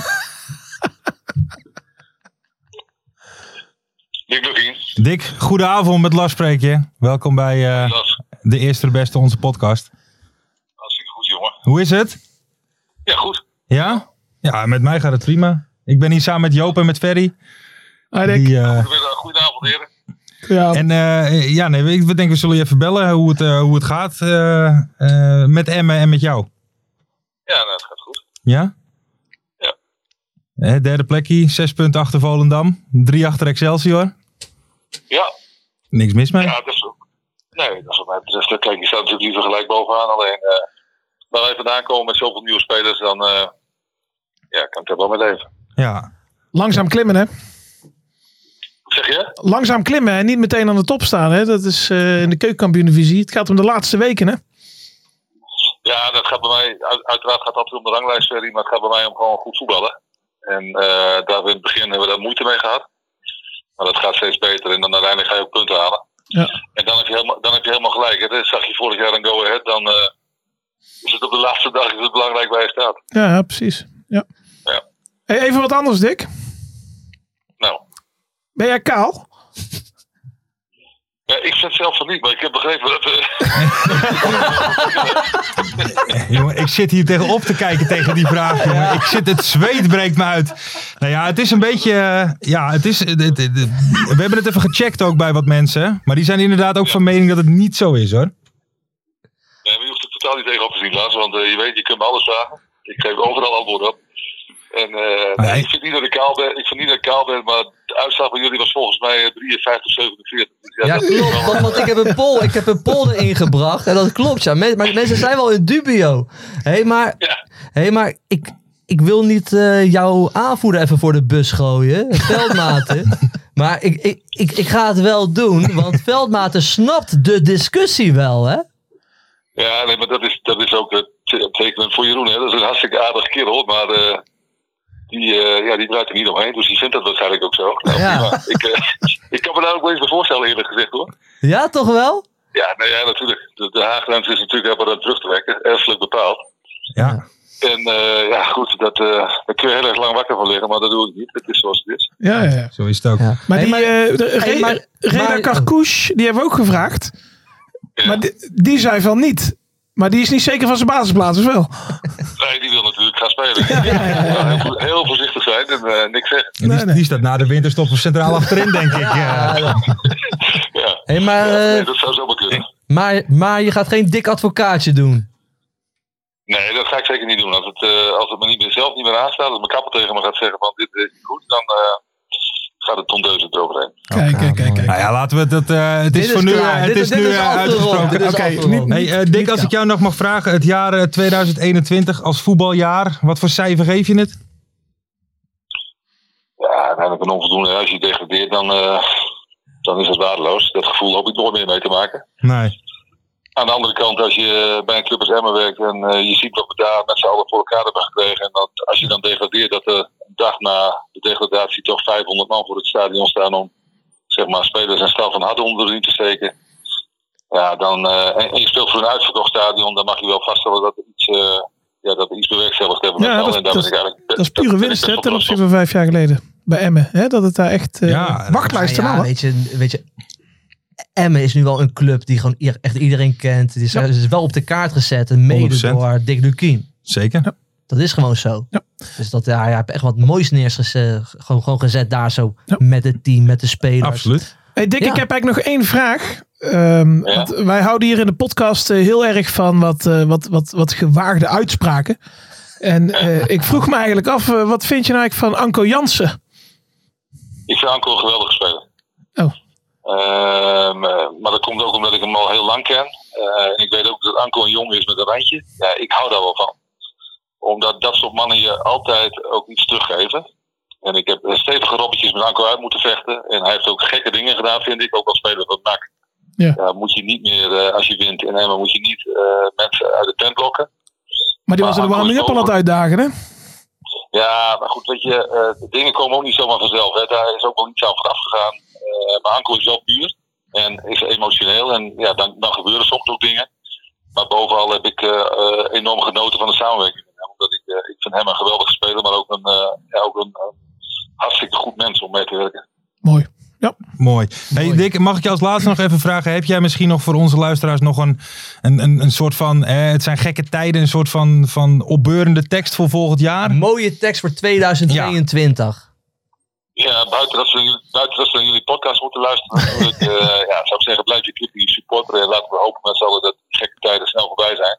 Dick Lukien. Dick, goedenavond met Lars spreek je. Welkom bij eh, Dat de eerste de beste onze podcast. hartstikke goed, jongen. Hoe is het? Ja, goed. Ja? Ja, met mij gaat het prima. Ik ben hier samen met Joop en met Ferry. Hij denkt, Die, eh, Goedemiddag, Goedenavond, heren. ja, Oh. en eh, ja, nee, we, we denken we zullen je even bellen hoe het, eh, hoe het gaat eh, eh, met Emma en met jou. Ja, nou, het gaat goed. Ja? Ja. Eh, derde plekje, zes punten achter Volendam. Drie achter Excelsior. Ja, Niks mis mee. ja dat is ook. Nee, dat is wat mij betreft. Kijk, je staat natuurlijk liever gelijk bovenaan. Alleen, eh waar wij vandaan komen met zoveel nieuwe spelers, dan eh, ja, kan ik daar wel mee leven. Ja. langzaam klimmen hè. Wat zeg je? Langzaam klimmen en niet meteen aan de top staan hè. Dat is eh, in de keukenkampioen-divisie. Het gaat om de laatste weken hè. Ja, dat gaat bij mij, uit- uiteraard gaat het altijd om de ranglijst, Ferry, maar het gaat bij mij om gewoon goed voetballen. En eh, daar hebben we in het begin hebben we daar moeite mee gehad. Maar dat gaat steeds beter en dan uiteindelijk ga je ook punten halen. Ja. En dan heb je helemaal, dan heb je helemaal gelijk. Hè? Dat zag je vorig jaar in Go Ahead. Dan eh, is het op de laatste dag is het belangrijk waar je staat. Ja, ja, precies. Ja. Ja. Hey, even wat anders, Dick. Nou, Ben jij kaal? ja, ik zet zelf van niet, maar ik heb begrepen dat... eh, Jongen, ik zit hier tegenop te kijken tegen die vraag. Jongen. Ik zit, het zweet breekt me uit. Nou ja, het is een beetje. eh, ja, het is. het- het- het- we hebben het even gecheckt ook bij wat mensen. Maar die zijn inderdaad ook van mening dat het niet zo is hoor. Nee, maar je hoeft er totaal niet tegenop te zien, Lars. Want eh, je weet, je kunt me alles vragen. Ik geef overal antwoord op. En eh, Maar nee, hij- ik vind niet dat ik kaal ben, ik vind niet dat ik kaal ben, maar de uitslag van jullie was volgens mij eh, 53, 47. Dus Ja, dat is klopt. wel- Want, want ik heb een poll, ik heb een poll erin gebracht. En dat klopt, ja. Men- maar mensen zijn wel in dubio. Hé, hey, maar, Ja. hey, maar ik, ik wil niet eh, jouw aanvoerder even voor de bus gooien. Veldmaten. Maar ik, ik, ik, ik ga het wel doen. Want Veldmaten snapt de discussie wel, hè? Ja, nee, maar dat is, dat is ook eh, het te- tekenend voor Jeroen. Hè. Dat is een hartstikke aardig kerel, maar eh, die, eh, ja, die draait er niet omheen. Dus die vindt dat waarschijnlijk ook zo. Nou, Ja. prima. Ik, eh, ik kan me daar ook wel eens bij voorstellen, eerlijk gezegd hoor. Ja, toch wel? Ja, nou ja, natuurlijk. De, de Haaglands is natuurlijk hebben dat terug te werken, erfelijk bepaald. Ja. En eh, ja, goed, dat, eh, daar kun je heel erg lang wakker van liggen, maar dat doe ik niet. Het is zoals het is. Ja, ja, ja. Zo is het ook. Ja. Maar Hey, die eh, de hey, Re- maar- Reda maar- Karkouche, die hebben we ook gevraagd. Ja. Maar die, die zei van niet. Maar die is niet zeker van zijn basisplaats, of wel? Nee, die wil natuurlijk ga spelen. Ja, heel, vo- heel voorzichtig zijn en eh, niks zeggen. En die, die staat na de winterstop centraal achterin, denk ik. Ja, Ja. Hey, maar, eh, Nee, dat zou zomaar kunnen. maar, maar je gaat geen dik advocaatje doen. Nee, dat ga ik zeker niet doen. Als het, eh, als het me niet meer, zelf niet meer aanstaat, als mijn kapper tegen me gaat zeggen van dit is niet goed, dan eh, gaat het tondeuzen eroverheen. Kijk, kijk, kijk. kijk. Nou ja, laten we dat. eh, het Dit is is voor nu, klaar. eh, het Dit is is- dit nu is eh, afgerond. uitgesproken. Dit is Oké, afgerond. niet- Niet- hey, eh, niet Dick, als koud. ik jou nog mag vragen, het jaar eh, 2021 als voetbaljaar, wat voor cijfer geef je het? Ja, uiteindelijk een onvoldoende. Als je degradeert, dan, eh, dan is het waardeloos. Dat gevoel hoop ik nooit meer mee te maken. Nee. Aan de andere kant, als je eh, bij een club als Emmen werkt en eh, je ziet wat we daar met z'n allen voor elkaar hebben gekregen. En dat als je dan degradeert, dat er een dag na de degradatie toch 500 man voor het stadion staan om zeg maar, spelers en staf van hadden onder de riem te steken. Ja, dan, eh, en, en je speelt voor een uitverkocht stadion, dan mag je wel vaststellen dat er iets, eh ja, dat we iets bewerkstelligd hebben. Ja, met z'n dat allen. is- dat En daar is- ben ik eigenlijk- Dat is daar pure ben ik winst best hè, wel ten trots op. opzichte van vijf jaar geleden. Bij Emmen. Hè? Dat het daar echt... eh Ja, wachtlijsten Nou waren. weet je, weet je, Emmen is nu wel een club die gewoon i- echt iedereen kent. Die is, Ja. is wel op de kaart gezet. En mede 100%. door Dick Lukien. Zeker. Dat is gewoon zo. Ja. Dus dat, ja, je hebt echt wat moois neergezet. Gewoon, gewoon gezet daar zo. Ja. Met het team, met de spelers. Absoluut. Hey Dick, Ja. ik heb eigenlijk nog één vraag. Ehm, Ja. want wij houden hier in de podcast eh, heel erg van wat, eh, wat, wat, wat gewaagde uitspraken. En eh, ik vroeg me eigenlijk af, eh, wat vind je nou eigenlijk van Anko Jansen? Ik vind Anko een geweldige speler. Oh. Ehm, eh, maar dat komt ook omdat ik hem al heel lang ken. Eh, en ik weet ook dat Anko een jongen is met een randje. Ja, ik hou daar wel van. Omdat dat soort mannen je altijd ook iets teruggeven. En ik heb stevige robbetjes met Anko uit moeten vechten. En hij heeft ook gekke dingen gedaan, vind ik. Ook als speler van NAC. Ja. moet je niet meer, eh, als je wint in Emmen, moet je niet eh, mensen uit de tent lokken. Maar die was in de Maar Anko is warming-up al aan het over. uitdagen, hè? Ja, maar goed, weet je, eh, de dingen komen ook niet zomaar vanzelf. Hè. Daar is ook wel iets aan vooraf gegaan. Eh, maar Anko is wel puur en is emotioneel. En ja, dan, dan gebeuren soms ook dingen. Maar bovenal heb ik eh, eh, enorm genoten van de samenwerking. met hem. Omdat ik, eh, ik vind hem een geweldige speler, maar ook een, eh, ja, ook een eh, hartstikke goed mens om mee te werken. Mooi. Mooi. Hey Dick, mag ik je als laatste nog even vragen? Heb jij misschien nog voor onze luisteraars nog een, een, een, een soort van, eh, het zijn gekke tijden, een soort van, van opbeurende tekst voor volgend jaar? Mooie tekst voor 2022. Ja, buiten dat ze, jullie- buiten dat ze naar jullie podcast moeten luisteren natuurlijk. eh, ja, zou ik zeggen, blijf je club die supporteren. En laten we hopen met z'n allen dat die gekke tijden snel voorbij zijn.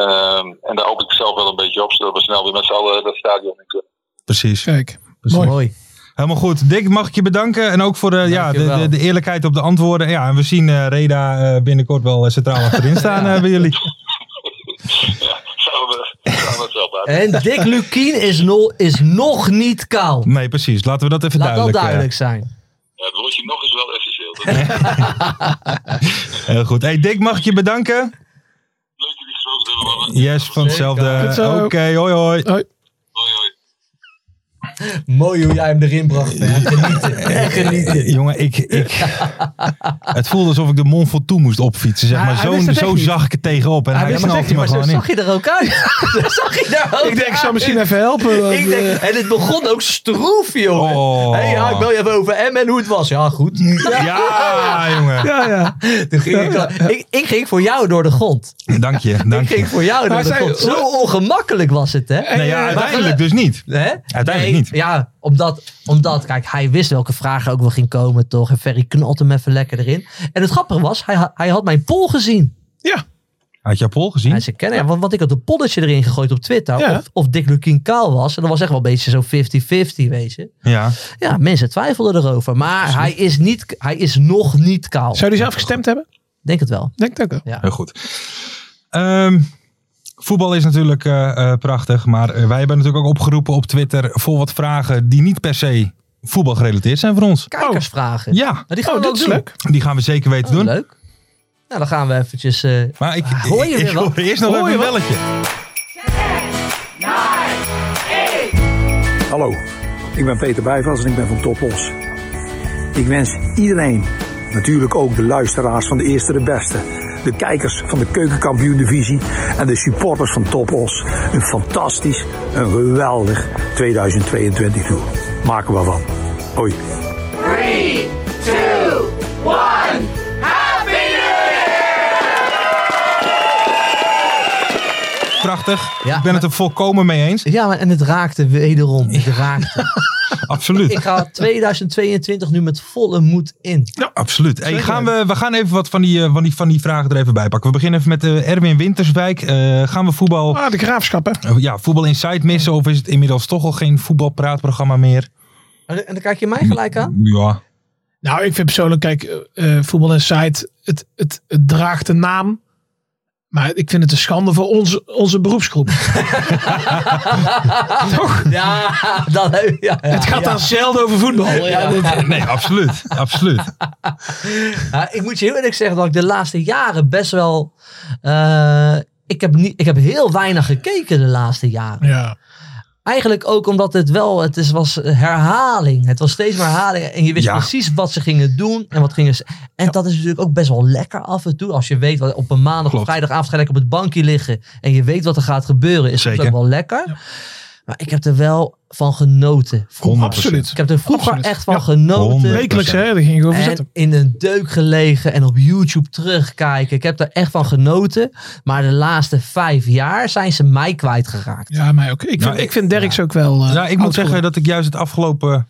Ehm, en daar hoop ik zelf wel een beetje op, zodat we snel weer met z'n allen dat stadion in kunnen. Precies. Kijk. Mooi. Mooi. Helemaal goed. Dick, mag ik je bedanken. En ook voor de, ja, de, Dankjewel. de, de eerlijkheid op de antwoorden. Ja, en we zien eh, Reda eh, binnenkort wel eh, centraal achterin staan eh, bij jullie. Ja, zouden we, zouden we het wel blijven. En Dick Lukien is, no, is nog niet kaal. Nee, precies. Laten we dat even Laat dat duidelijk, eh, duidelijk zijn. Ja, het woordje nog is wel essentieel. Dat Heel goed. Hey, Dick, mag ik je bedanken? leuk dat jullie gesproken hebben, mannen. Yes, van hetzelfde. Goed zo. Oké, hoi hoi. Hoi. Hoi, hoi. Mooi hoe jij hem erin bracht. hè. Genieten. Echt genieten. Eh, jongen, ik, ik, het voelde alsof ik de Mont Ventoux moest opfietsen. Zeg Hij- maar. hij Zo, wist het echt zo niet. zag ik het tegenop. En hij, Ja, maar snapte zeg je, me maar zo gewoon in. zag je er ook uit. Zo zag je er ook Ik denk, ik zou uit. misschien even helpen. want, eh, Ik denk, en het begon ook stroef, joh. Eh, Oh. Hey, ja, ik bel je even over M en hoe het was. Ja, goed. Ja, jongen. eh, ja, ja. Toen ging ik, al- ik, ik ging voor jou door de grond. Dank je, dank Ik ging je. voor jou door Maar de zij- grond. Zo ongemakkelijk was het, hè? Oh. Nee, ja, uiteindelijk dus niet. Hè? Uiteindelijk niet. Ja, omdat, omdat, kijk, hij wist welke vragen ook wel ging komen, toch? En Ferry knalt hem even lekker erin. En het grappige was, hij, ha- hij had mijn poll gezien. Ja, Had je Paul Hij gezien? zei, kennen, ja, want, want ik had een polletje erin gegooid op Twitter. Ja. Of, of Dick Lukien kaal was. En dat was echt wel een beetje zo 50-50, weet je. Ja. Ja, mensen twijfelden erover. Maar hij is, niet, hij is nog niet kaal. zou die zelf gestemd hebben? Denk het wel. Denk het ook wel. Heel goed. Ehm, voetbal is natuurlijk eh, eh, prachtig, maar eh, wij hebben natuurlijk ook opgeroepen op Twitter voor wat vragen die niet per se voetbal gerelateerd zijn voor ons. Oh, Kijkersvragen. Ja, Nou, die gaan Oh, we dat ook is doen. leuk. die gaan we zeker weten Oh, doen. Leuk. Nou, dan gaan we eventjes... eh, Maar ik, Ah, hoor je ik, weer ik wat? hoor eerst nog Hoor even je een wat? belletje. Hallo, ik ben Peter Bijvels en ik ben van Topos. Ik wens iedereen, natuurlijk ook de luisteraars van de Eerste de Beste, de kijkers van de Keukenkampioen Divisie en de supporters van Topos, een fantastisch, een geweldig 2022 toe. Maken we van. Hoi. prachtig. Ja, ik ben het er volkomen mee eens. Ja, maar, en het raakte wederom. Het raakte. Absoluut. Ik ga 2022 nu met volle moed in. Absoluut. Hey, Zeker. gaan we, we gaan even wat van die, eh, van, die, van die vragen er even bij pakken. We beginnen even met eh, Erwin Winterswijk. Eh, gaan we voetbal... Ah, de graafschap, hè? Eh, Ja, voetbal Inside missen of is het inmiddels toch al geen voetbalpraatprogramma meer? En en dan kijk je mij gelijk aan. Ja. Nou, ik vind persoonlijk, kijk, eh, eh, voetbal Insight, het, het, het draagt de naam. Maar ik vind het een schande voor onze, onze beroepsgroep. Ja, dan, ja, ja, het gaat ja. dan zelden over voetbal. Ja, Ja. dit- Nee, absoluut. absoluut. Ja, ik moet je heel eerlijk zeggen dat ik de laatste jaren best wel. eh, ik, heb niet, ik heb heel weinig gekeken de laatste jaren. ja. Eigenlijk ook omdat het wel, het is, was herhaling. Het was steeds maar herhaling. En je wist Ja. precies wat ze gingen doen en wat gingen ze. En dat is natuurlijk ook best wel lekker af en toe. Als je weet wat op een maandag Klopt. of vrijdagavond ga je lekker op het bankje liggen. En je weet wat er gaat gebeuren. Is Zeker. het ook wel lekker. Maar ik heb er wel van genoten. Vroeger. 100%. Absoluut. Ik heb er vroeger Absoluut. echt van Ja. genoten. 100%. Wekelijks, hè? Daar ging ik over zetten. eh, En in een deuk gelegen en op YouTube terugkijken. Ik heb daar echt van genoten. Maar de laatste vijf jaar zijn ze mij kwijtgeraakt. Ja, mij ook. Ik vind, Nou, ik, ik- vind Derks ook wel. eh, Ja, Nou, ik moet oud zeggen geworden. dat ik juist het afgelopen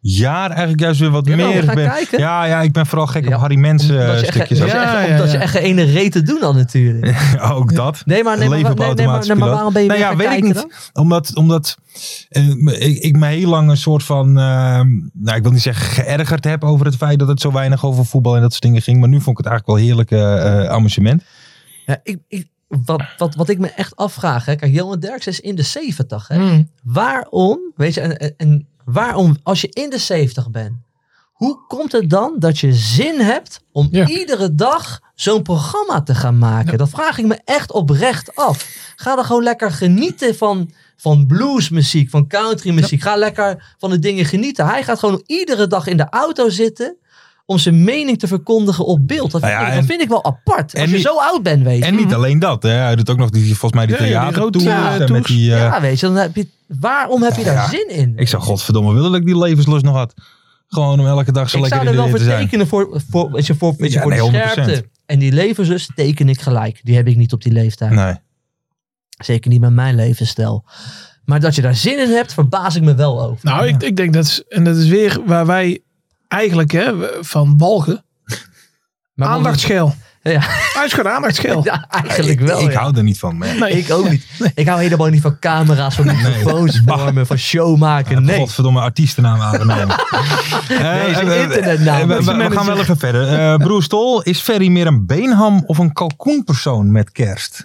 jaar eigenlijk juist weer wat Jawel, we meer gaan ben. kijken. Ja, ja, ik ben vooral gek Ja, op Harry Mensen Omdat eh, je echt- stukjes. omdat je Ja, echt- ja, ja. Omdat je echt geen ene reet te doen dan natuurlijk. Ook dat. Nee, maar, nee, maar, Leven op nee, nee, maar, automatisch nee, maar piloot. waarom ben je Nou ja, weer gaan weet ik kijken niet. dan? Omdat, omdat eh, me- ik, ik me heel lang een soort van, eh, nou ik wil niet zeggen geërgerd heb over het feit dat het zo weinig over voetbal en dat soort dingen ging. Maar nu vond ik het eigenlijk wel heerlijk eh, eh, amusement. Ja, ik, ik, wat, wat, wat ik me echt afvraag. Hè, kijk, Johan Derks is in de 70. Hè. Hmm. Mm. Waarom, weet je, en, en- en waarom, als je in de 70 bent, hoe komt het dan dat je zin hebt om Ja. iedere dag zo'n programma te gaan maken? Dat vraag ik me echt oprecht af. Ga dan gewoon lekker genieten van, van bluesmuziek, van countrymuziek. Ga lekker van de dingen genieten. Hij gaat gewoon iedere dag in de auto zitten om zijn mening te verkondigen op beeld. Dat vind, Nou ja, ik, dat en- vind ik wel apart. en Als je niet- zo oud bent, weet je. En niet alleen dat, hè. hij doet ook nog die, volgens mij die Ja, ja, die theater rood- ja, met tours. die... eh, ja, weet je, dan heb je, waarom heb je daar ja. zin in? Ik zou godverdomme willen dat ik die levenslust nog had. Gewoon om elke dag zo ik lekker zou in er de wel weer te voor zijn. tekenen voor, voor, weet je, voor, weet je, Ja, voor nee, de 100%. scherpte. En die levenslust teken ik gelijk. Die heb ik niet op die leeftijd. Nee. Zeker niet met mijn levensstijl. Maar dat je daar zin in hebt, verbaas ik me wel over. Nou, ik, ik denk dat. is- En dat is weer waar wij eigenlijk hè, we- van walgen. Maar Aandachtsschel. Ja. Hij is gewoon aandachtsschel. Ja, eigenlijk wel. ik ja. hou er niet van. Man. Nee. Ik ook niet. Ik hou helemaal niet van camera's, van microfoons vormen, van showmaken. Nee. Nee. Godverdomme artiestennaam aangenomen. Eh, Nee, is een eh, eh, internetnaam. eh, we- Dat is we- een we, manager. gaan wel even verder. Eh, broer Stol, is Ferry meer een beenham of een kalkoenpersoon met kerst?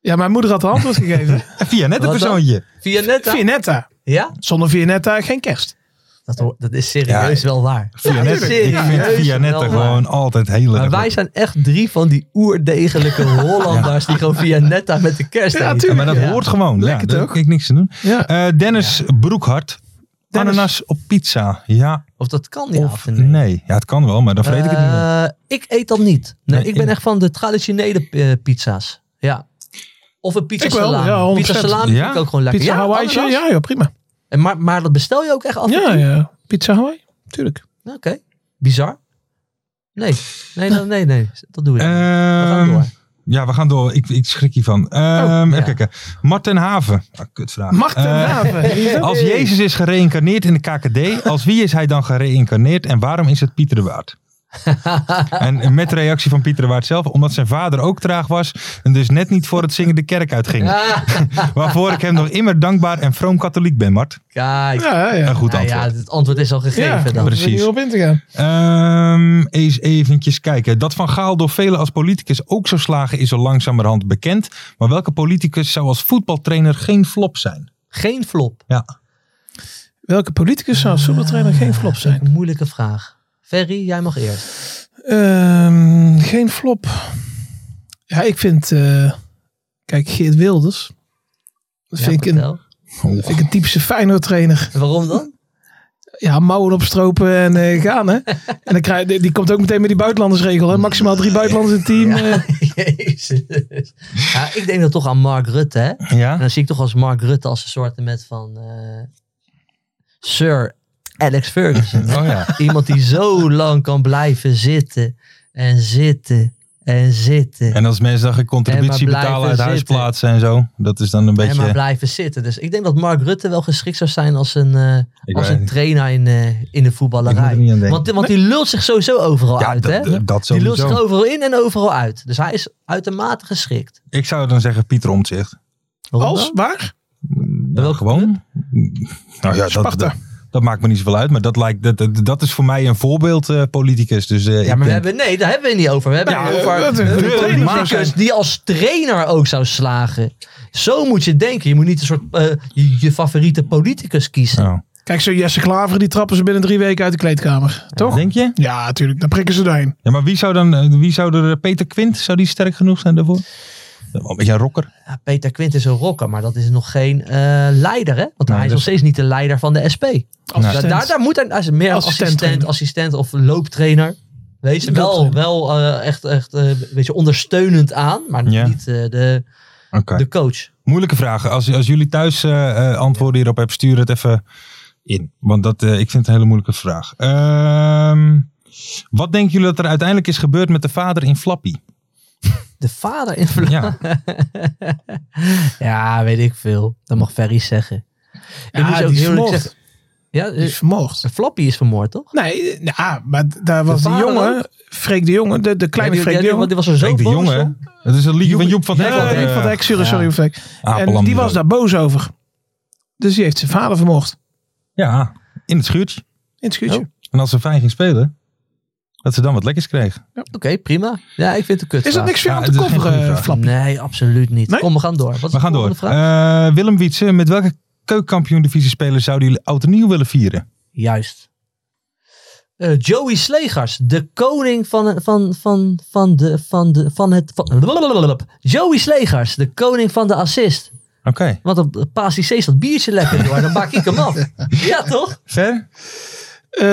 Ja, mijn moeder had de antwoord gegeven. Eh, Via net een Wat dan? persoontje. Via netta? Vianetta. Ja, Zonder Vianetta geen kerst. dat, hoor- dat is serieus Ja. wel waar. Via net, serieus ik vind wel Via net waar. gewoon altijd heel Maar erg. wij zijn echt drie van die oerdegelijke Hollanders die gewoon via netta met de kerst Ja, eten. Ja, tuurlijk. maar dat Ja. hoort gewoon. Ja, Lekker daar toch? kan ik niks aan doen. Ja. Eh, Dennis Broekhart. Dennis. Ananas op pizza. Ja Of dat kan ja, of nee. Ja, het kan wel, maar dan vreet ik het niet. meer. Eh, ik eet dat niet. Nee, Nee, ik ben ik- echt van de traditionele eh, pizza's. Ja. Of een pizza Ik wel, salami. ja, 100%. pizza salami Ja? vind ik ook gewoon lekker. Pizza ja, Hawaii. ananas. Ja, ja, prima. En maar, maar dat bestel je ook echt af en Ja, toe? Nou, ja. Pizza Hawaii. Tuurlijk. Oké. Bizar. Nee. Nee, nee, nee, nee. Dat doe ik niet. We gaan Ehm, door. Oh, Ja, we gaan door. Ik, ik schrik hiervan. Ehm ja. Even kijken. Marten Haven. Ah, kutvraag. Marten Eh, Haven. Als Jezus is gereïncarneerd in de KKD, als wie is hij dan gereïncarneerd en waarom is het Pieter de Waard? en met de reactie van Pieter de Waard zelf, omdat zijn vader ook traag was en dus net niet voor het zingen de kerk uitging. Ah, Waarvoor ik hem nog immer dankbaar en vroom katholiek ben, Mart. Kijk. Ja, ja. Een goed Nou antwoord. ja, het antwoord is al gegeven Ja, dan. precies. Om er op in te gaan. Ehm, eens eventjes kijken. Dat Van Gaal door velen als politicus ook zou slagen is al langzamerhand bekend. Maar welke politicus zou als voetbaltrainer geen flop zijn? Geen flop. Ja. Welke politicus zou als voetbaltrainer geen flop zijn? Een moeilijke vraag. Ferry, jij mag eerst. Ehm, geen flop. Ja, ik vind. eh, kijk, Geert Wilders. Dat Ja, vind, ik een, vertel. dat vind ik een typische Feyenoord trainer. Waarom dan? Ja, mouwen opstropen en eh, gaan hè. En dan krijg, die, die komt ook meteen met die buitenlandersregel hè. Maximaal drie buitenlanders in het team. eh. Ja, Jezus. Ja, ik denk dat toch aan Mark Rutte, hè? En Ja? dan zie ik toch als Mark Rutte als een soort met van eh, Sir Alex Ferguson. Oh ja. Iemand die zo lang kan blijven zitten en zitten En zitten. En als mensen dan geen En contributie maar blijven betalen uit zitten. huisplaatsen en zo. Dat is dan een En maar beetje... blijven zitten. Dus ik denk dat Mark Rutte wel geschikt zou zijn als een, eh, Ik als weet een niet. trainer in, eh, in de Ik moet voetballerij. er niet aan denken. want, want die lult zich sowieso overal uit. dat- hè? dat- dat die lult sowieso. zich overal in en overal uit. Dus hij is uitermate geschikt. Ik zou dan zeggen Pieter Omtzigt. Waarom Als? dan? Waar? Nou, gewoon. Nou ja, dat, Sparta. dat, dat maakt me niet zoveel uit. Maar dat, lijkt, dat, dat, dat is voor mij een voorbeeld eh, politicus. Dus, eh, Ja, ik maar we denk- hebben, nee, daar hebben we het niet over. We hebben het eh, over wat een een goede trainer zou politicus zijn. die als trainer ook zou slagen. Zo moet je denken. Je moet niet een soort eh, je, je favoriete politicus kiezen. Nou, Kijk, zo Jesse Klaver, die trappen ze binnen drie weken uit de kleedkamer. Toch? Oh. Denk je? Ja, natuurlijk. Dan prikken ze daarheen. Ja, maar wie zou dan, eh, wie zou er, eh, Peter Quint, zou die sterk genoeg zijn daarvoor? Wel Een beetje een rocker. Ja, Peter Quint is een rocker, maar dat is nog geen eh, leider. Hè? Want hij is dat- nog steeds niet de leider van de SP. Da- Assistent. daar, daar moet hij, hij is meer Assistent assistent, assistent, trainer. of looptrainer. Weet je, wel, Looptrainer. wel eh, echt, echt eh, een beetje ondersteunend aan, maar nog Ja. niet eh, de, Oké. de coach. Moeilijke vragen. Als, als jullie thuis eh, eh, antwoorden hierop hebben, stuur het even in. Want dat, eh, ik vind het een hele moeilijke vraag. Ehm, wat denken jullie dat er uiteindelijk is gebeurd met de vader in Flappy? De vader in Vla- Ja, Ja, weet ik veel. Dat mag Ferry zeggen. Ik Ja, moet je die is heel eerlijk vermoord. zeggen. Ja, Die eh, is vermoord. Flappy is vermoord, toch? Nee, eh, ja, maar d- daar was die vader jongen, Freek de Jongen, de, de kleine Ja, die, Freek de die, Jongen. die was er zo Freek de boos Jonge. om. Dat is een liedje van Joep van Eh, Ah, Nee, van Hekken. Dijk, van Dijk, sorry, sorry, van Dijk. En die was daar boos over. Dus die heeft zijn vader vermoord. Ja, in het schuurtje. In het schuurtje. En als ze fijn ging spelen, dat ze dan wat lekkers kreeg. Oké, prima. Ja, ik vind het een kut. Is dat niks voor Ja, jou aan te het is geen goede kofferen, vraag. Flap? Nee, absoluut niet. Nee? Kom, we gaan door. Wat is We de gaan door. volgende Vraag? Eh, Willem Wietse, met welke keukenkampioen divisie speler zouden jullie oud en nieuw willen vieren? Juist. Eh, Joey Slegers, de koning van, eh, van, van, van, de, van, de, van het... Van, Joey Slegers, de koning van de assist. Oké, Want op Paas die C dat biertje lekker door, dan bak ik hem af. Ja, toch? ver? Eh,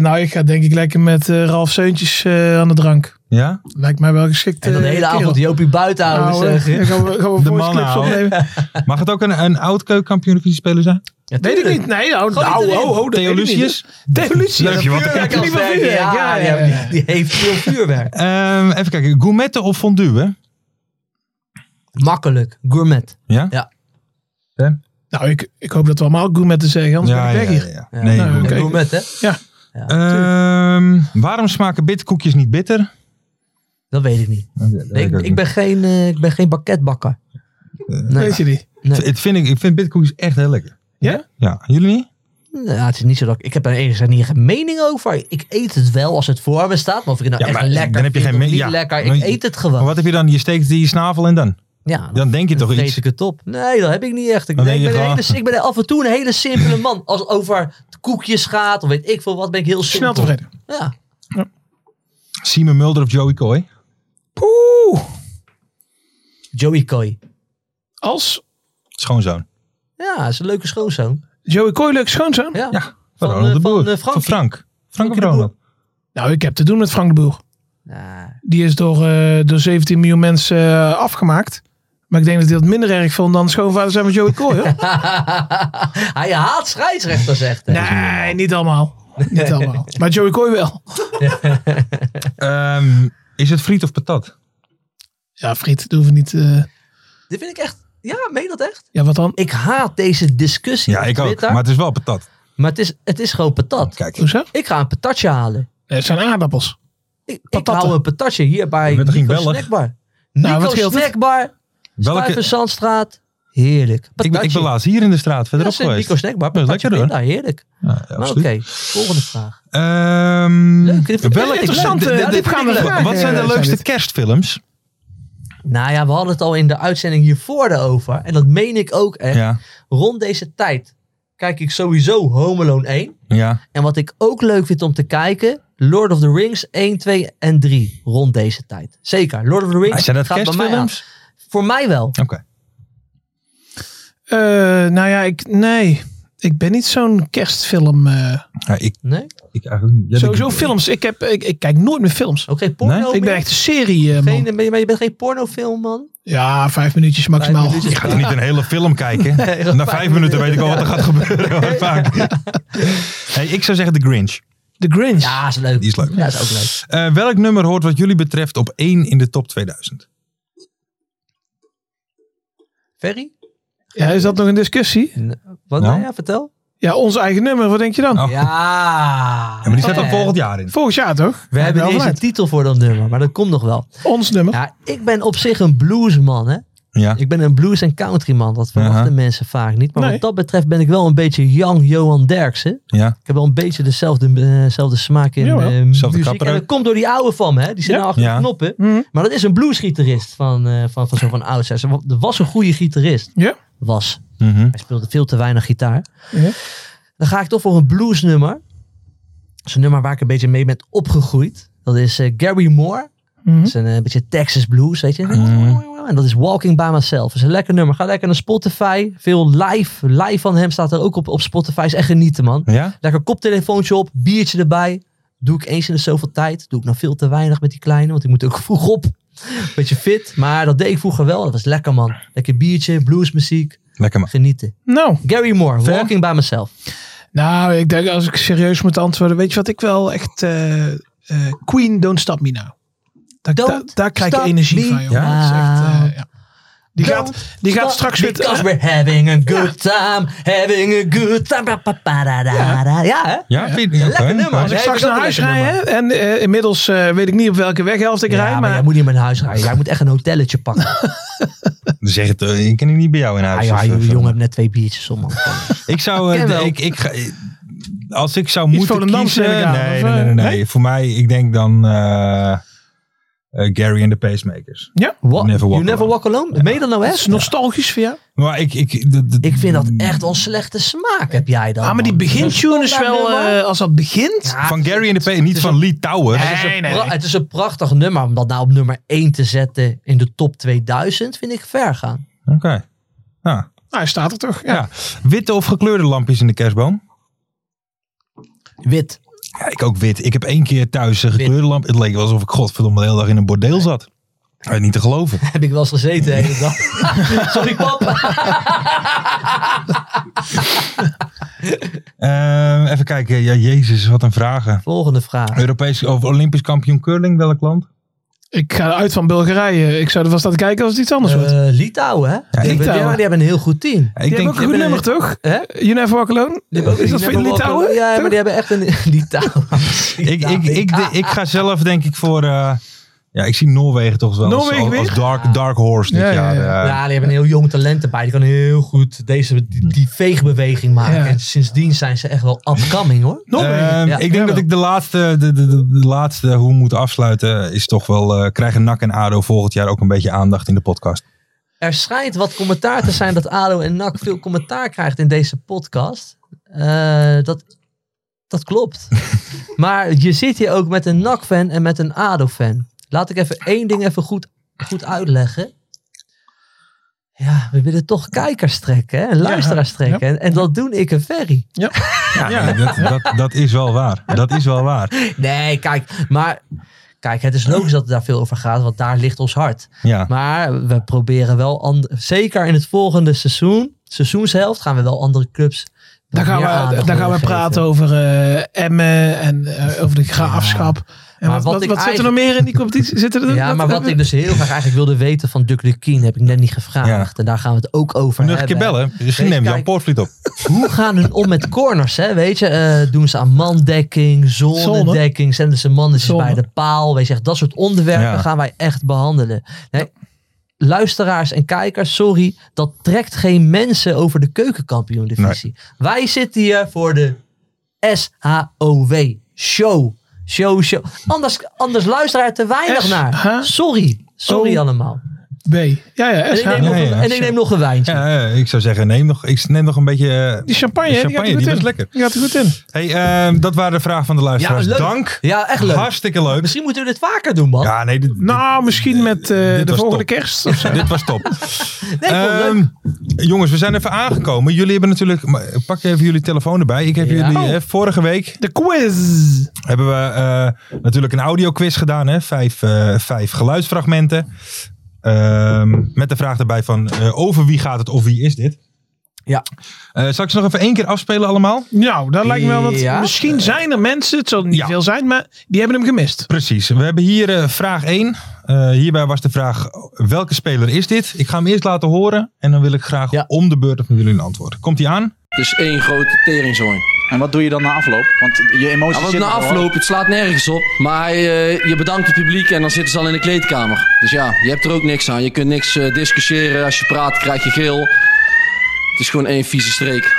nou, ik ga denk ik lekker met eh, Ralf Seuntjes eh, aan de drank. Ja? Lijkt mij wel geschikt. En dan de eh, hele kerel. avond Jopie buiten houden. Nou, zeg. eh, dan gaan we, gaan we De voice man clips houden. opnemen. Mag het ook een, een oud keukenkampioen divisie speler zijn? Ja, Weet ik tuurlijk. niet. Nee, nou, Gooi het nou, erin. ho, ho, Oh, dat Theo weet ik niet. Lucius? Theo Lucius. Leuk, je wat te Ja, kijken. ik liever Kasperke, vuurwerk. ja, Ja, die ja, hebben- ja. Die heeft veel vuurwerk. Ehm, even kijken, gourmetten of fondue? Makkelijk, gourmet. Ja? Ja. Nou, ik, ik hoop dat we allemaal gourmet te zeggen, anders ben ik weg hier. Ja. Nee, Nou, gourmet. oké. Gourmet, hè? Ehm, waarom smaken bitterkoekjes niet bitter? Dat weet ik niet. Nee, ik, ik ben geen, eh, ik ben geen bakketbakker. Nee. Weet je die? Nee. Het vind ik, ik vind bitterkoekjes echt heel lekker. Ja? Ja, jullie niet? Nou, het is niet zo dat ik, ik heb er enigszins niet echt een mening over. Ik eet het wel als het voor me staat. Maar of ik het nou Ja, echt maar lekker dan heb je vind geen of me- niet ja. lekker. Maar Ik je- eet het Maar gewoon. wat heb je dan? Je steekt die snavel en dan? ja, Dan denk je toch vreet iets? ik het op. Nee, dat heb ik niet echt. Ik, Dan nee, ik, denk ben, je een gewoon- hele, ik ben af en toe een hele simpele man. Als het over koekjes gaat of weet ik veel wat, ben ik heel simpel. Snel tevreden. Ja. Simon Mulder of Joey Coy? Poeh. Joey Coy. Als Schoonzoon. Ja, is een leuke schoonzoon. Joey Kooi leuk schoonzoon. Ja. Ja, Van, van eh, Ronald de van, Boer. eh, Frankie. Van Frank. Frank Frankie of de Ronald? Nou, ik heb te doen met Frank de Boer. Ja. Die is door, eh, door 17 miljoen mensen eh, afgemaakt. Maar ik denk dat hij dat minder erg vond dan schoonvader zijn van Joey Kooi, hoor. Hij haat scheidsrechters echt. hè. nee, niet allemaal. Niet allemaal. Maar Joey Kooi wel. Ehm, is het friet of patat? Ja, Friet, doen we niet... eh, Dit vind ik echt... Ja, meen je dat echt? ja, wat dan? Ik haat deze discussie Ja, op ik ook. Twitter. Maar het is wel patat. Maar het is, het is gewoon patat. Kijk, je Hoezo? Ik ga een patatje halen. Nee, het zijn aardappels. Ik, ik Patatten. hou een patatje hier bij Je bent toch geen Nico Belg? Snackbar. Nou, Nico wat scheelt het? Snackbar, Welke... Zandstraat. Heerlijk. ik, ben, ik ben laatst hier in de straat Ja, verderop zit geweest. Nico Snackbar, Dat is patatje lekker, hoor. pinda, heerlijk. Ja, ja, Maar Oké, absoluut. volgende vraag. Ehm, Leuk, dit vind ik welke- echt interessant, de- de- eh, de- de- diepgaande vragen, Wat zijn de eh, leukste zijn dit. kerstfilms? Nou ja, we hadden het al in de uitzending hiervoor erover. En dat meen ik ook echt. Ja, Rond deze tijd kijk ik sowieso Home Alone 1. ja. En wat ik ook leuk vind om te kijken, Lord of the Rings 1, 2 en 3 rond deze tijd. Zeker, Lord of the Rings Ah, Zijn dat gaat bij mij aan. kerstfilms? Voor mij wel. Oké. Eh, nou ja, ik... Nee. Ik ben niet zo'n kerstfilm... eh, Ja, ik, Nee? ik eigenlijk niet. Ja, Sowieso ik- films. Ik, heb, ik, ik kijk nooit meer films. Oké, porno Nee? Oh, meer? Ik ben echt een serie eh, man. Geen, ben je, maar je bent geen pornofilm, man. Ja, vijf minuutjes maximaal. Vijf minuutjes. Ik ga toch niet een hele film kijken? Na vijf vijf minuten weet ik al wat er gaat gebeuren. hoor, vaak. Hey, ik zou zeggen The Grinch. The Grinch. Ja, is leuk. Die is leuk. Ja, is ook leuk. Eh, welk nummer hoort wat jullie betreft op 1 in de top 2000? Ferry? Ja, is dat nog een discussie? Wat? Nou. Oh. Nou ja, vertel. Ja, ons eigen nummer. Wat denk je Oh. dan? Ja. Ja, maar die staat Eh, er volgend jaar in. Volgend jaar toch? We hebben wel deze vanuit. titel voor dat nummer, maar dat komt nog wel. Ons nummer. Ja, ik ben op zich een bluesman, hè. Ja. Ik ben een blues- en countryman. Dat verwachten Aha. mensen vaak niet. Maar Nee. wat dat betreft ben ik wel een beetje young Johan Derksen. ja. Ik heb wel een beetje dezelfde, eh, zelfde smaak in Jawel. eh, Zelfde muziek. kapper En dat ook. komt door die oude van me, hè? Die zit Ja. nou achter Ja. de knoppen. Mhm. Maar dat is een bluesgitarist van, eh, van, van zo van oudsher. Ze- Er was een goede gitarist. Ja. Was. Mhm. Hij speelde veel te weinig gitaar. Ja. Dan ga ik toch voor een bluesnummer. Dat is een nummer waar ik een beetje mee ben opgegroeid. Dat is eh, Gary Moore. Mhm. Dat is een eh, beetje Texas blues, weet je. Mhm. En dat is Walking by Myself. Dat is een lekker nummer. Ga lekker naar Spotify. Veel live. Live van hem staat er ook op, op Spotify. Is echt genieten, man. Ja? Lekker koptelefoontje op, biertje erbij. Doe ik eens in de zoveel tijd. Doe ik nog veel te weinig met die kleine, want die moet ook vroeg op. Beetje fit, maar dat deed ik vroeger wel. Dat was lekker, man. Lekker biertje, bluesmuziek. Lekker man. Genieten. Nou, Gary Moore, Ver? Walking by Myself. nou, ik denk als ik serieus moet antwoorden, weet je wat ik wel echt... eh, eh, Queen, Don't Stop Me Now. Daar, Don't daar, daar krijg ik Stop energie Me van, joh. Dat is echt, eh, ja. Die Don't gaat, die gaat Stop straks weer... Because we're having a good time, having a good time. Ba, ba, ba, da, da, da. Ja, hè? Ja, vind ik ook, Lekker hè? nummer. Ja, Als ik Nee, straks vind ik naar ook huis een rij, lekker hè, en eh, inmiddels eh, weet ik niet op welke weghelft ik Ja, rij, maar, jij maar moet niet meer naar huis rijden. Jij moet echt een hotelletje pakken. Dan Zeg het, eh, ik ken het niet bij jou in Ah, huis. ja, of, eh, je van- jongen hebt net twee biertjes om, man. Ik zou, eh, Ken wel. ik, ik, ga- eh, als ik zou moeten Volendams kiezen, neem ik aan, nee, of, nee, nee, eh, nee, nee. Voor mij, ik denk dan eh, eh, Gary en de Pacemakers. What? Never walk you never alone. walk alone? Meen je dat nou dat echt? is nostalgisch voor jou. Maar ik, ik, dat- dat- Ik vind dat echt wel slechte smaak, heb jij dan. Hmm. Ah, maar die man. begintune is wel, standaardnummer. eh, als dat begint... Ja, van Ah, het is- Gary en de Pacemakers, niet is van Lee Towers. Het is, een Nee, nee, pra- nee. het is een prachtig nummer. Om dat nou op nummer 1 te zetten in de top 2000 vind ik ver gaan. Oké. Ah, Nou, hij staat er toch? Ja. ja. Witte of gekleurde lampjes in de kerstboom? Wit. Ja, ik ook wit. Ik heb één keer thuis een gekleurde lamp. Het leek wel alsof ik godverdomme de hele dag in een bordeel zat. Eh, niet te geloven. Heb ik wel eens gezeten de hele dag. Sorry pap. Eh, even kijken. Ja, jezus, wat een vragen. Volgende vraag. Europees of Olympisch kampioen curling, welk land? Ik ga uit van Bulgarije. Ik zou er vast aan kijken als het iets anders wordt. Eh Litouwen, hè? die, hebben- Litouwen. ja, die hebben een heel goed team. Ja, Ik die hebben ook een goed eh, nummer, toch? Hè? You Never Walk Alone? Die hebben ook- Is dat die voor hebben wel- Litouwen? Ja, maar die hebben echt een... Litouwen. ik, ik, ik, de- ik ga zelf denk ik voor... eh, ja, ik zie Noorwegen toch wel als- Noorwegen als, weer? dark, dark horse dit Ja, jaar. ja, ja. eh. ja, die hebben een heel jong talent erbij. Die kan heel goed deze, die, die veegbeweging maken. Ja. En sindsdien zijn ze echt wel upcoming hoor. Noorwegen. Ehm, Ja. ik denk dat ik de laatste, de, de, de, de laatste hoe we moeten afsluiten is toch wel... eh, krijgen NAC en ADO volgend jaar ook een beetje aandacht in de podcast. Er schijnt wat commentaar te zijn dat ADO en NAC veel commentaar krijgt in deze podcast. Eh, dat, dat klopt. maar je zit hier ook met een NAC-fan en met een ADO-fan. Laat ik even één ding even goed, goed uitleggen. Ja, we willen toch kijkers trekken hè? en luisteraars trekken. En, en dat doen ik en Ferry. Ja, Dat, dat, dat is wel waar. Dat is wel waar. Nee, kijk, maar... Kijk, het is logisch dat het daar veel over gaat, want daar ligt ons hart. Ja. Maar we proberen wel, and- zeker in het volgende seizoen, seizoenshelft, gaan we wel andere clubs. Daar gaan, meer aandacht we, daar gaan we geven. praten over eh, Emmen en eh, over de graafschap. En Maar wat, wat wat, ik wat zit er nog eigenlijk- meer in die competitie? Zit er, Ja, maar wat ik dus heel graag eigenlijk wilde weten van Duck Lukien, heb ik net niet gevraagd. En daar gaan we het ook over Nog een keer eh, hebben. bellen. Misschien Weet je, neemt Jan kijk- Poortvliet op. Hoe gaan hun om met corners? Hè? Weet je, eh, doen ze aan mandekking, zonedekking, zenden ze mannetjes Zone. bij de paal? Weet je, echt dat soort onderwerpen Ja. gaan wij echt behandelen. Nee, luisteraars en kijkers, sorry, dat trekt geen mensen over de keukenkampioen-divisie. Wij zitten hier voor de SHOW show. Show, show. Anders, anders luisteren er te weinig S, naar. H, Oh. Sorry. Sorry O, allemaal. B. Ja, ja, En SH. ik neem, Ja, nog, een- ja, en ik neem nog een wijntje. Ja, eh, ik zou zeggen, neem nog, ik neem nog een beetje... eh, Die champagne, Die hè, die, gaat champagne, er goed die was in. lekker. Die gaat er goed in. Hey, ehm, dat waren de vragen van de luisteraars. leuk. Dank. Ja, echt leuk. Hartstikke leuk. Misschien moeten we dit vaker doen, man. Ja, nee, dit, dit- Nou, misschien met eh, dit de was volgende top. kerst. of zo. dit was top. Nee, ik vond het leuk. Ehm, jongens, we zijn even aangekomen. Jullie hebben natuurlijk... maar, eh, Pak even jullie telefoon erbij. Ik heb Ja. jullie... Oh. hè, vorige week De quiz. hebben we eh, natuurlijk een audioquiz gedaan. Hè? Vijf, eh, vijf geluidsfragmenten. Ehm, met de vraag erbij van eh, over wie gaat het of wie is dit? Ja. Eh, zal ik ze nog even één keer afspelen allemaal? Nou, dat lijkt me wel wat. Ja. Misschien zijn er mensen, het zal niet veel zijn, maar die hebben hem gemist. Precies. We hebben hier eh, vraag 1. Eh, hierbij was de vraag, welke speler is dit? Ik ga hem eerst laten horen en dan wil ik graag om de beurt van jullie een antwoord. Komt hij aan? Dus één grote teringzooi. En wat doe je dan na afloop? Want je emoties Ja, want na afloop, het slaat nergens op. Maar eh, je bedankt het publiek en dan zitten ze al in de kleedkamer. Dus ja, je hebt er ook niks aan. Je kunt niks eh, discussiëren. Als je praat, krijg je geel. Het is gewoon één vieze streek.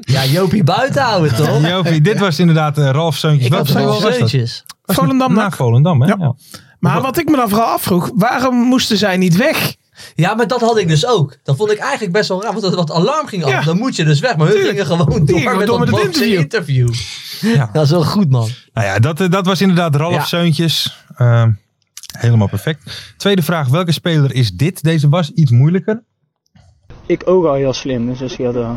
Ja, Jopie buiten houden toch? Jopie, dit was inderdaad eh, Ralf Seuntjes. Ik Welke had Ralf voetballer was dat? Seuntjes. Volendam, Na NAC. Volendam, hè? Ja. Ja. Maar wat ik me dan vooral afvroeg, waarom moesten zij niet weg? Ja, maar dat had ik dus ook. Dat vond ik eigenlijk best wel raar. Want dat wat alarm ging af, Ja. dan moet je dus weg. Maar hun Tuurlijk. gingen gewoon Die door gingen met, door dat met het boze interview. interview. Dat is wel goed, man. Nou ja, dat, eh, dat was inderdaad Ralf Ja. Seuntjes. Ehm, helemaal perfect. Tweede vraag, welke speler is dit? Deze was iets moeilijker. Ik ook al heel slim, dus dat is heel... eh,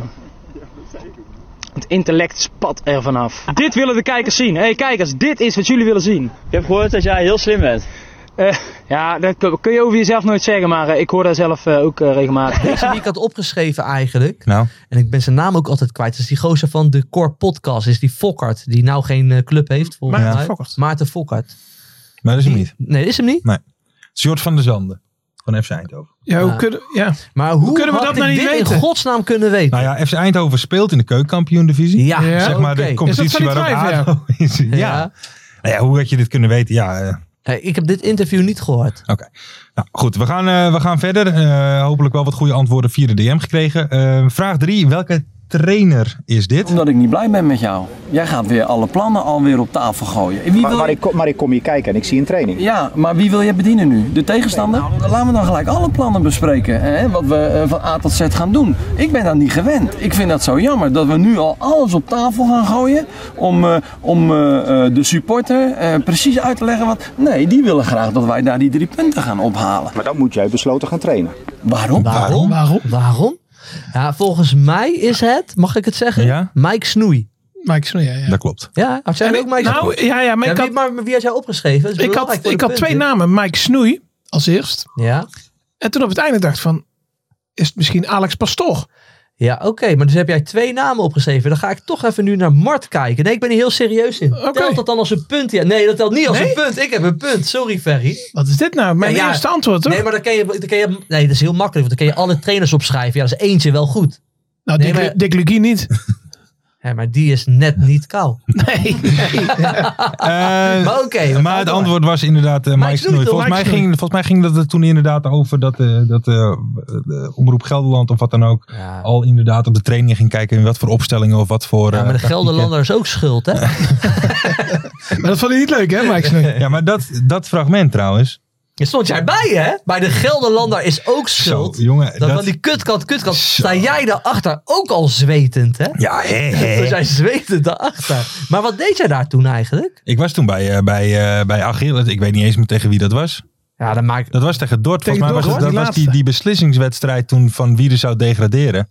het intellect spat er vanaf. Dit willen de kijkers zien. Hé hey, kijkers, dit is wat jullie willen zien. Ik heb gehoord dat jij heel slim bent. ja, dat kun- kun je over jezelf nooit zeggen, maar eh, ik hoor daar zelf eh, ook eh, regelmatig. Deze die ik had opgeschreven eigenlijk. Nou. En ik ben zijn naam ook altijd kwijt. Dat is die gozer van de Core Podcast. Is die Fokkart. Die nou geen eh, club heeft volgens Maarten mij. Fokkert. Maarten Fokkart. Maar dat is hem niet. Nee, dat is hem niet? Nee. Sjoerd van der Zanden van FC Eindhoven. Ja, hoe kunnen, ja. Maar hoe, kunnen we had ik dat nou niet dit weten? in godsnaam kunnen weten? Nou ja, FC Eindhoven speelt in de keukenkampioen-divisie. Ja, Ja, zeg maar oké. de Is competitie dat van waar die ook vijf, ADO in zit. Ja. Nou ja, hoe had je dit kunnen weten? Ja, eh, Hey, ik heb dit interview niet gehoord. Oké. Nou, goed. We gaan, eh, we gaan verder. Eh, hopelijk wel wat goede antwoorden via de DM gekregen. Eh, vraag 3. Welke trainer is dit? Omdat ik niet blij ben met jou. Jij gaat weer alle plannen alweer op tafel gooien. En Wie Maar, wil maar, je- ik, kom- maar ik kom hier kijken en ik zie een training. Ja, maar wie wil je bedienen nu? De tegenstander? Laten we dan gelijk alle plannen bespreken. Hè? Wat we eh, van A tot Z gaan doen. Ik ben dat niet gewend. Ik vind dat zo jammer dat we nu al alles op tafel gaan gooien. Om, eh, om eh, eh, de supporter eh, precies uit te leggen wat. Nee, die willen graag dat wij daar die drie punten gaan ophalen. Maar dan moet jij besloten gaan trainen. Oh, Waarom? Waarom? Waarom? Waarom? Ja, volgens mij is het, mag ik het zeggen? Mike Snoei. Mike Snoei, ja. ja. Dat klopt. Ja, had jij En ook ik- Mike nou, Snoei? ja, ja, maar ik wie- had- maar wie had jij opgeschreven? Dat is Ik had, belangrijk voor ik de had twee punten. namen. Mike Snoei als eerst. Ja. En toen op het einde dacht ik van, is het misschien Alex Pastoor? Ja, oké. maar dus heb jij twee namen opgeschreven. Dan ga ik toch even nu naar Mart kijken. Nee, ik ben hier heel serieus in. Telt dat dan als een punt? Ja, nee, dat telt niet als Nee? een punt. Ik heb een punt. Sorry, Ferry. Wat is dit nou? Mijn Ja, ja. eerste antwoord, hoor. Nee, maar dan kan, je, dan kan je... Nee, dat is heel makkelijk. Want dan kan je alle trainers opschrijven. Ja, dat is eentje wel goed. Nou, Dick- Dick Lugie niet. Ja, maar die is net niet kou. Nee. maar oké. we Eh, maar gaan het door. antwoord was inderdaad eh, Mike, Snoei, Snoei. toch? Volgens, Mike mij ging, Snoei. volgens mij ging dat er toen inderdaad over dat, eh, dat eh, de Omroep Gelderland of wat dan ook... al inderdaad op de trainingen ging kijken... in wat voor opstellingen of wat voor... eh, Ja, maar de Gelderland. Gelderlander is ook schuld, hè? Maar dat vond je niet leuk, hè, Mike Snoei? ja, maar dat, dat fragment trouwens. Je stond jij bij, hè? Bij de Gelderlander is ook schuld. jongen, dat, dat- van die kutkant, kutkant. Sta jij daarachter ook al zwetend, hè? Ja, hè, hè. Dus jij zwetend daarachter. Maar wat deed jij daar toen eigenlijk? Ik was toen bij, eh bij, eh bij Achilles. Ik weet niet eens meer tegen wie dat was. Ja, dat, maakt... dat was tegen Dort. Tegen Volgens mij was het, dat Dort, die was die, laatste. die beslissingswedstrijd toen van wie er zou degraderen.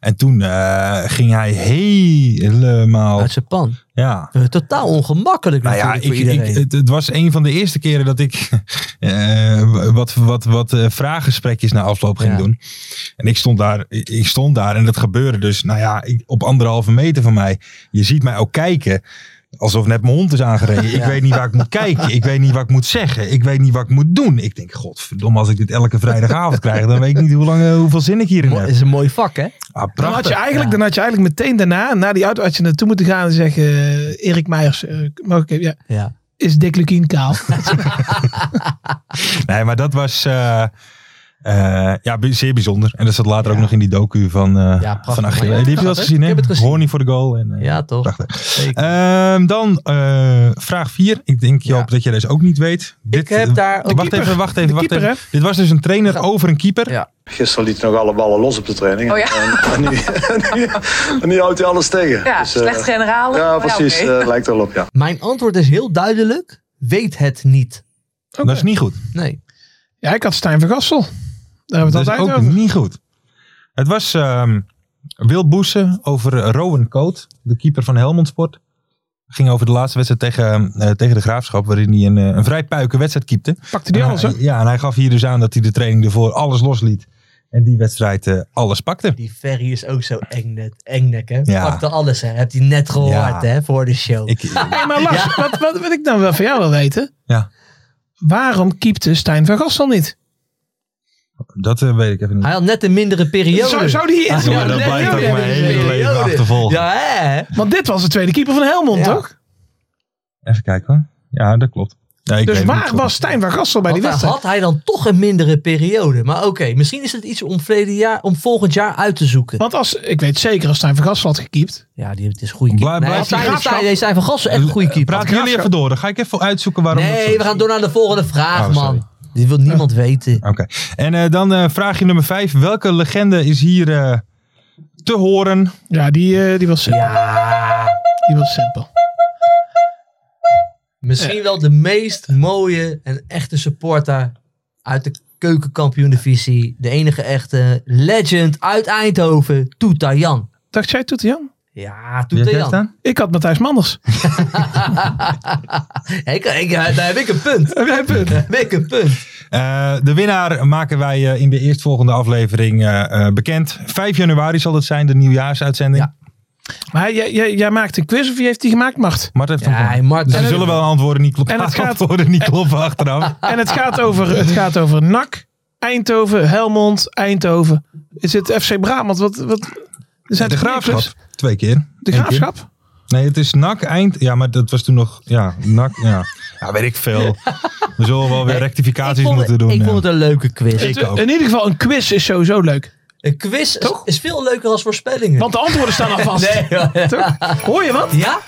En toen eh, ging hij helemaal... Uit zijn pan. Ja. Eh, Totaal ongemakkelijk Oh. Nou ja, natuurlijk ik, voor iedereen. ik, het, het was een van de eerste keren dat ik eh, wat, wat, wat eh, vraaggesprekjes na afloop ging doen. En ik stond, daar, ik ik stond daar en dat gebeurde dus, nou ja, ik, op anderhalve meter van mij. Je ziet mij ook kijken. Alsof net mijn hond is aangereden. Ik Ja. weet niet waar ik moet kijken. Ik weet niet wat ik moet zeggen. Ik weet niet wat ik moet doen. Ik denk, godverdomme, als ik dit elke vrijdagavond krijg, dan weet ik niet hoe lang, eh, hoeveel zin ik hierin heb. is Nou, een mooi vak, hè? Ah, Dan prachtig. had, je eigenlijk, dan had je eigenlijk meteen daarna, na die auto, had je naartoe moeten gaan en zeggen, eh, Erik Meijers, eh, mag ik even- ja. Ja. is Dick Lukien kaal? Nee, maar dat was eh, eh, ja, bij- zeer bijzonder. En dat zat later ook nog in die docu van, eh prachtig. van Ja, Achille. Die heb je wel eens prachtig. gezien, hè? Ik heb het gezien. Horny voor de goal. En, eh, Ja, toch? Prachtig. Ehm, dan eh, vraag 4. Ik denk, Joop, dat jij deze ook niet weet. Eh, Dit, heb daar ook- Wacht De keeper. even, wacht even, De wacht keeper, even. Dit was dus een trainer over een keeper. Gisteren liet hij nog alle ballen los op de training. Oh ja. en, en, nu, en, nu, en nu houdt hij alles tegen. Ja, eh, slecht generalen. Ja, Maar ja, precies. oké. eh, lijkt er wel op, ja. Mijn antwoord is heel duidelijk. Weet het niet. Dat is niet goed. Nee. Ja, ik had Stijn van Gassel. Daar hebben Dat we het is ook altijd over. niet goed. Het was ehm Wil Boesen over eh, Rowan Coat, de keeper van Helmond Sport. Ging over de laatste wedstrijd tegen, eh, tegen de Graafschap, waarin hij een, eh, een vrij puike wedstrijd keepte. Pakte die alles, hè? Ja, en hij gaf hier dus aan dat hij de training ervoor alles losliet. En die wedstrijd eh, alles pakte. Die Ferry is ook zo eng net, engnek, hè? Ja. Pakte alles, hè? Heb je net gehoord, Ja. hè? Voor de show. Hey, maar Lars, wat, wat, wat ik dan wel van jou wil weten. eh, Ja. Waarom keepte Stijn van Gastel niet? Dat eh, weet ik even niet. Hij had net een mindere periode. Zou- zou die- Ah, jongen, dat blijft ook mijn hele leven Periode. achtervolgen. Ja, hè? Want dit was de tweede keeper van Helmond, toch? Even kijken hoor. Ja, dat klopt. Ja, ik Dus weet het waar niet. was Stijn van Gastel bij Want die dan wedstrijd. Had hij dan toch een mindere periode? Maar oké, misschien is het iets om, verleden jaar, om volgend jaar uit te zoeken. Want als, ik weet zeker, als Stijn van Gastel had gekiept. Ja, die, het is goed. Blij- Nee, blijft die Stijn- graafschap- Stijn- Stijn van Gastel echt een goede keeper. Praat jullie even door. Dan ga ik even uitzoeken waarom dat zo Nee, we gaan door naar de volgende vraag, Oh, sorry. man. Dit wil niemand weten. Oké. En eh, dan eh, vraagje nummer vijf. Welke legende is hier eh, te horen? Ja, die, eh, die was simpel. Die was simpel. Misschien wel de meest mooie en echte supporter uit de keukenkampioen-divisie. De enige echte legend uit Eindhoven, Toeta Jan. Dacht jij Toeta Jan? Ja, Toeta Jan. Ik had Matthijs Manders. Ik, ik, daar heb ik een punt. Daar heb ik een punt. Eh, de winnaar maken wij eh, in de eerstvolgende aflevering eh, eh, bekend. 5 januari zal het zijn, de nieuwjaarsuitzending. Maar jij, jij, jij maakt een quiz of wie heeft die gemaakt, Mart? Mart heeft hem gemaakt. Mart- dus er En het- zullen wel antwoorden niet kloppen. en het gaat- antwoorden niet kloppen achteraf. En het gaat over, het gaat over NAC, Eindhoven, Helmond, Eindhoven. Is het FC Brabant? Wat, wat, er zijn de toch meer clubs? graafschap. Twee keer. De Eén Graafschap? keer. Nee, het is NAC eind. Ja, maar dat was toen nog. Ja, NAC. Ja, ja weet ik veel. We zullen wel weer rectificaties moeten doen. ik ja. vond het een leuke quiz. Ik ook. In ieder geval, een quiz is sowieso leuk. Een quiz is, is veel leuker als voorspellingen. Want de antwoorden staan al vast. Nee, joh. Toch? Hoor je wat? Ja?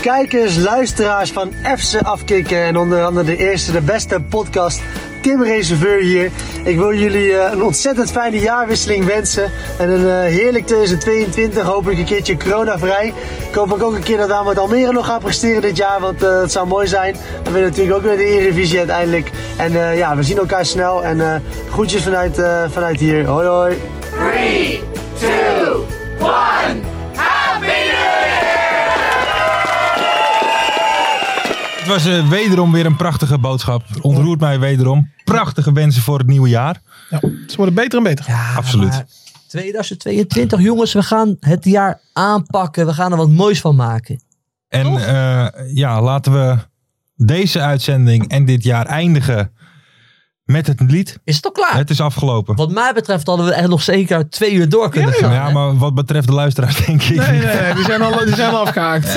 Kijkers, luisteraars van FC Afkikken en onder andere de eerste, de beste podcast. Tim Reserveur hier. Ik wil jullie eh, een ontzettend fijne jaarwisseling wensen. En een eh, heerlijk 2022. Hopelijk een keertje coronavrij. Ik hoop ook een keer dat Ahmed Almere nog gaat presteren dit jaar. Want eh dat zou mooi zijn. We willen natuurlijk ook weer de Eredivisie uiteindelijk. En eh, ja, we zien elkaar snel. En eh groetjes vanuit, eh, vanuit hier. Hoi hoi. Two, one, happy Het was eh, wederom weer een prachtige boodschap. Ontroert mij wederom. Prachtige wensen voor het nieuwe jaar. ze worden beter en beter. Ja, Absoluut. maar 2022, jongens, we gaan het jaar aanpakken. We gaan er wat moois van maken. En eh, ja, laten we deze uitzending en dit jaar eindigen met het lied. Is het al klaar? Het is afgelopen. Wat mij betreft hadden we echt nog zeker twee uur door kunnen gaan. ja, hè? maar wat betreft de luisteraars denk ik. Ehm, Nee, nee, nee, Eh, die zijn al, die zijn al afgehaakt.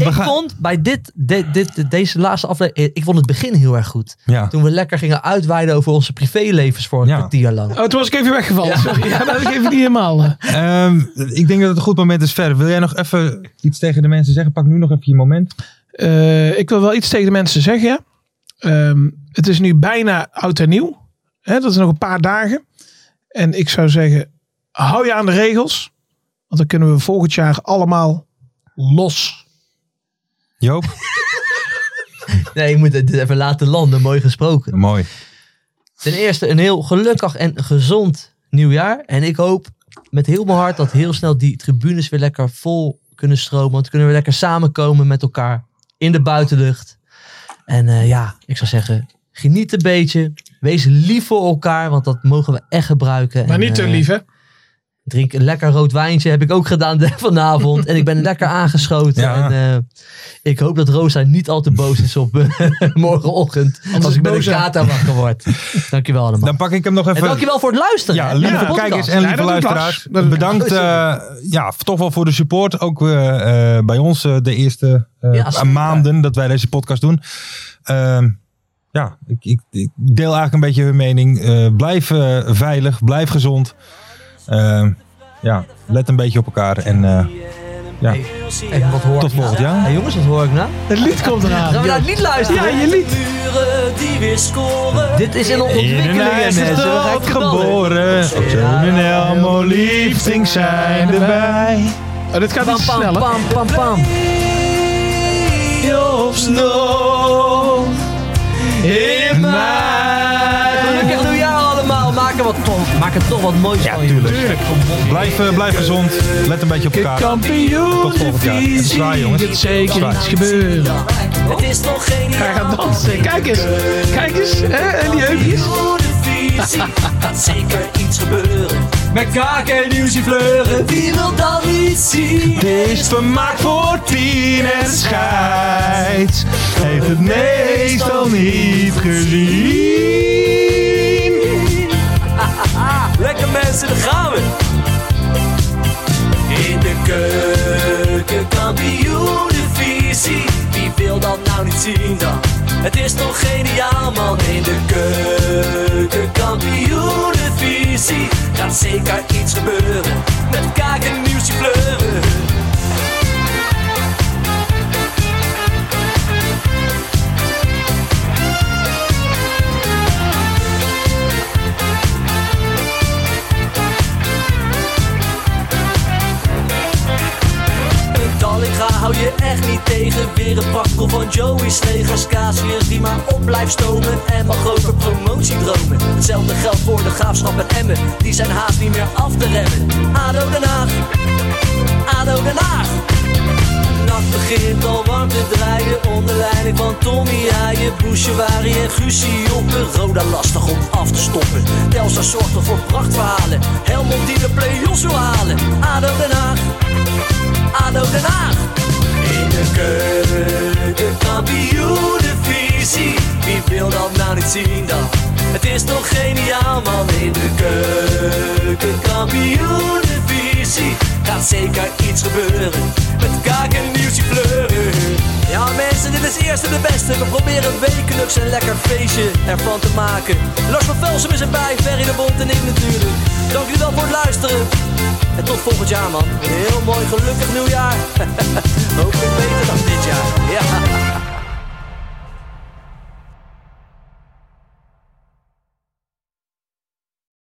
ik vond bij dit, de- dit, de- deze laatste aflevering, ik vond het begin heel erg goed. Ja. Toen we lekker gingen uitweiden over onze privélevens voor een kwartier lang. Oh, toen was ik even weggevallen. Sorry, ja, dat had ik even niet helemaal. eh. Ehm, ik denk dat het een goed moment is verder. Wil jij nog even iets tegen de mensen zeggen? Pak nu nog even je moment. Eh, ik wil wel iets tegen de mensen zeggen. ja. Ehm, het is nu bijna oud en nieuw. Hè, dat is nog een paar dagen. En ik zou zeggen, hou je aan de regels. Want dan kunnen we volgend jaar allemaal los. Joop? Nee, ik moet het even laten landen. Mooi gesproken. Mooi. Ten eerste een heel gelukkig en gezond nieuwjaar. En ik hoop met heel mijn hart dat heel snel die tribunes weer lekker vol kunnen stromen. Want dan kunnen we lekker samenkomen met elkaar in de buitenlucht. En eh, ja, ik zou zeggen, geniet een beetje. Wees lief voor elkaar, want dat mogen we echt gebruiken. Maar En, niet te eh, lief, hè? Drink een lekker rood wijntje, heb ik ook gedaan de- vanavond. En ik ben lekker aangeschoten. En, eh, ik hoop dat Rosa niet al te boos is op eh, morgenochtend. als ik met een boos, hè? kater wakker word. Dankjewel allemaal. Dan pak ik hem nog even. En dankjewel voor het luisteren. Ja, hè, naar lieve de podcast. kijkers en lieve luisteraars. Bedankt eh, ja, toch wel voor de support. Ook eh, eh, bij ons eh, de eerste eh, Ja, zeker. maanden dat wij deze podcast doen. Ehm, ja, ik, ik, ik deel eigenlijk een beetje hun mening. Eh, blijf eh, veilig, blijf gezond. Ehm, ja, let een beetje op elkaar. En eh, ja, Even wat hoor tot volgend jaar. Hey, jongens, wat hoor ik nou? Het lied komt eraan. Gaan we naar het lied luisteren? Ja, je lied. Muren die weer scoren. Dit is in de In een ontwikkeling. mensen. Zo ga ik ijzerstad knallen. geboren. Op zo'n en Elmo liefding zijn erbij. Oh, dit gaat Pam, iets pam, sneller. pam, pam, pam. Playoffs nog in mij. Gelukkig nieuwjaar allemaal. Maak er, wat, maak er toch wat moois van. Tuurlijk. Blijf, eh, blijf gezond. Let een beetje op elkaar. Tot volgend jaar. Het is waar, jongens. Het is waar. Zeker iets gebeuren. Het is nog geen Hij gaat dansen. Kijk eens. Kijk eens. Hè? En die heupjes. Gaat zeker iets gebeuren. Met kaak en illusie fleuren. Wie wil dat niet zien? Is vermaakt voor tien en scheids. Heeft het meestal niet gezien. Lekker mensen, daar gaan we. In de keuken, kampioenenvisie. Wie wil dat nou niet zien dan? Het is toch geniaal man. In de keuken, kampioenenvisie. Gaat zeker iets gebeuren. Met kaak en nieuwsje fleuren. Dallinga hou je echt niet tegen. Weer een pakkel van Joey's legers. Casius die maar op blijft stomen. En mag over promotie dromen. Hetzelfde geldt voor de graafschap en Emmen. Die zijn haast niet meer af te remmen. Ado Den Haag. Ado Den Haag. Nacht begint al warm te draaien Onder leiding van Tommy Haaien, Bouchewari en Guusje Joppen Roda lastig om af te stoppen Telstra zorgt er voor prachtverhalen Helmond die de play-offs wil halen ADO Den Haag ADO Den Haag In de keuken, kampioenenvisie Wie wil dat nou niet zien dan? Het is toch geniaal man In de keuken, kampioenenvisie Gaat zeker iets gebeuren Met kaak en nieuwsje fleuren Ja mensen, dit is eerst en de beste We proberen wekelijks een lekker feestje ervan te maken Lars van Velsum is erbij, Ferry de Bond en ik natuurlijk Dank jullie wel voor het luisteren En tot volgend jaar man Een Heel mooi gelukkig nieuwjaar Hopelijk beter dan dit jaar Ja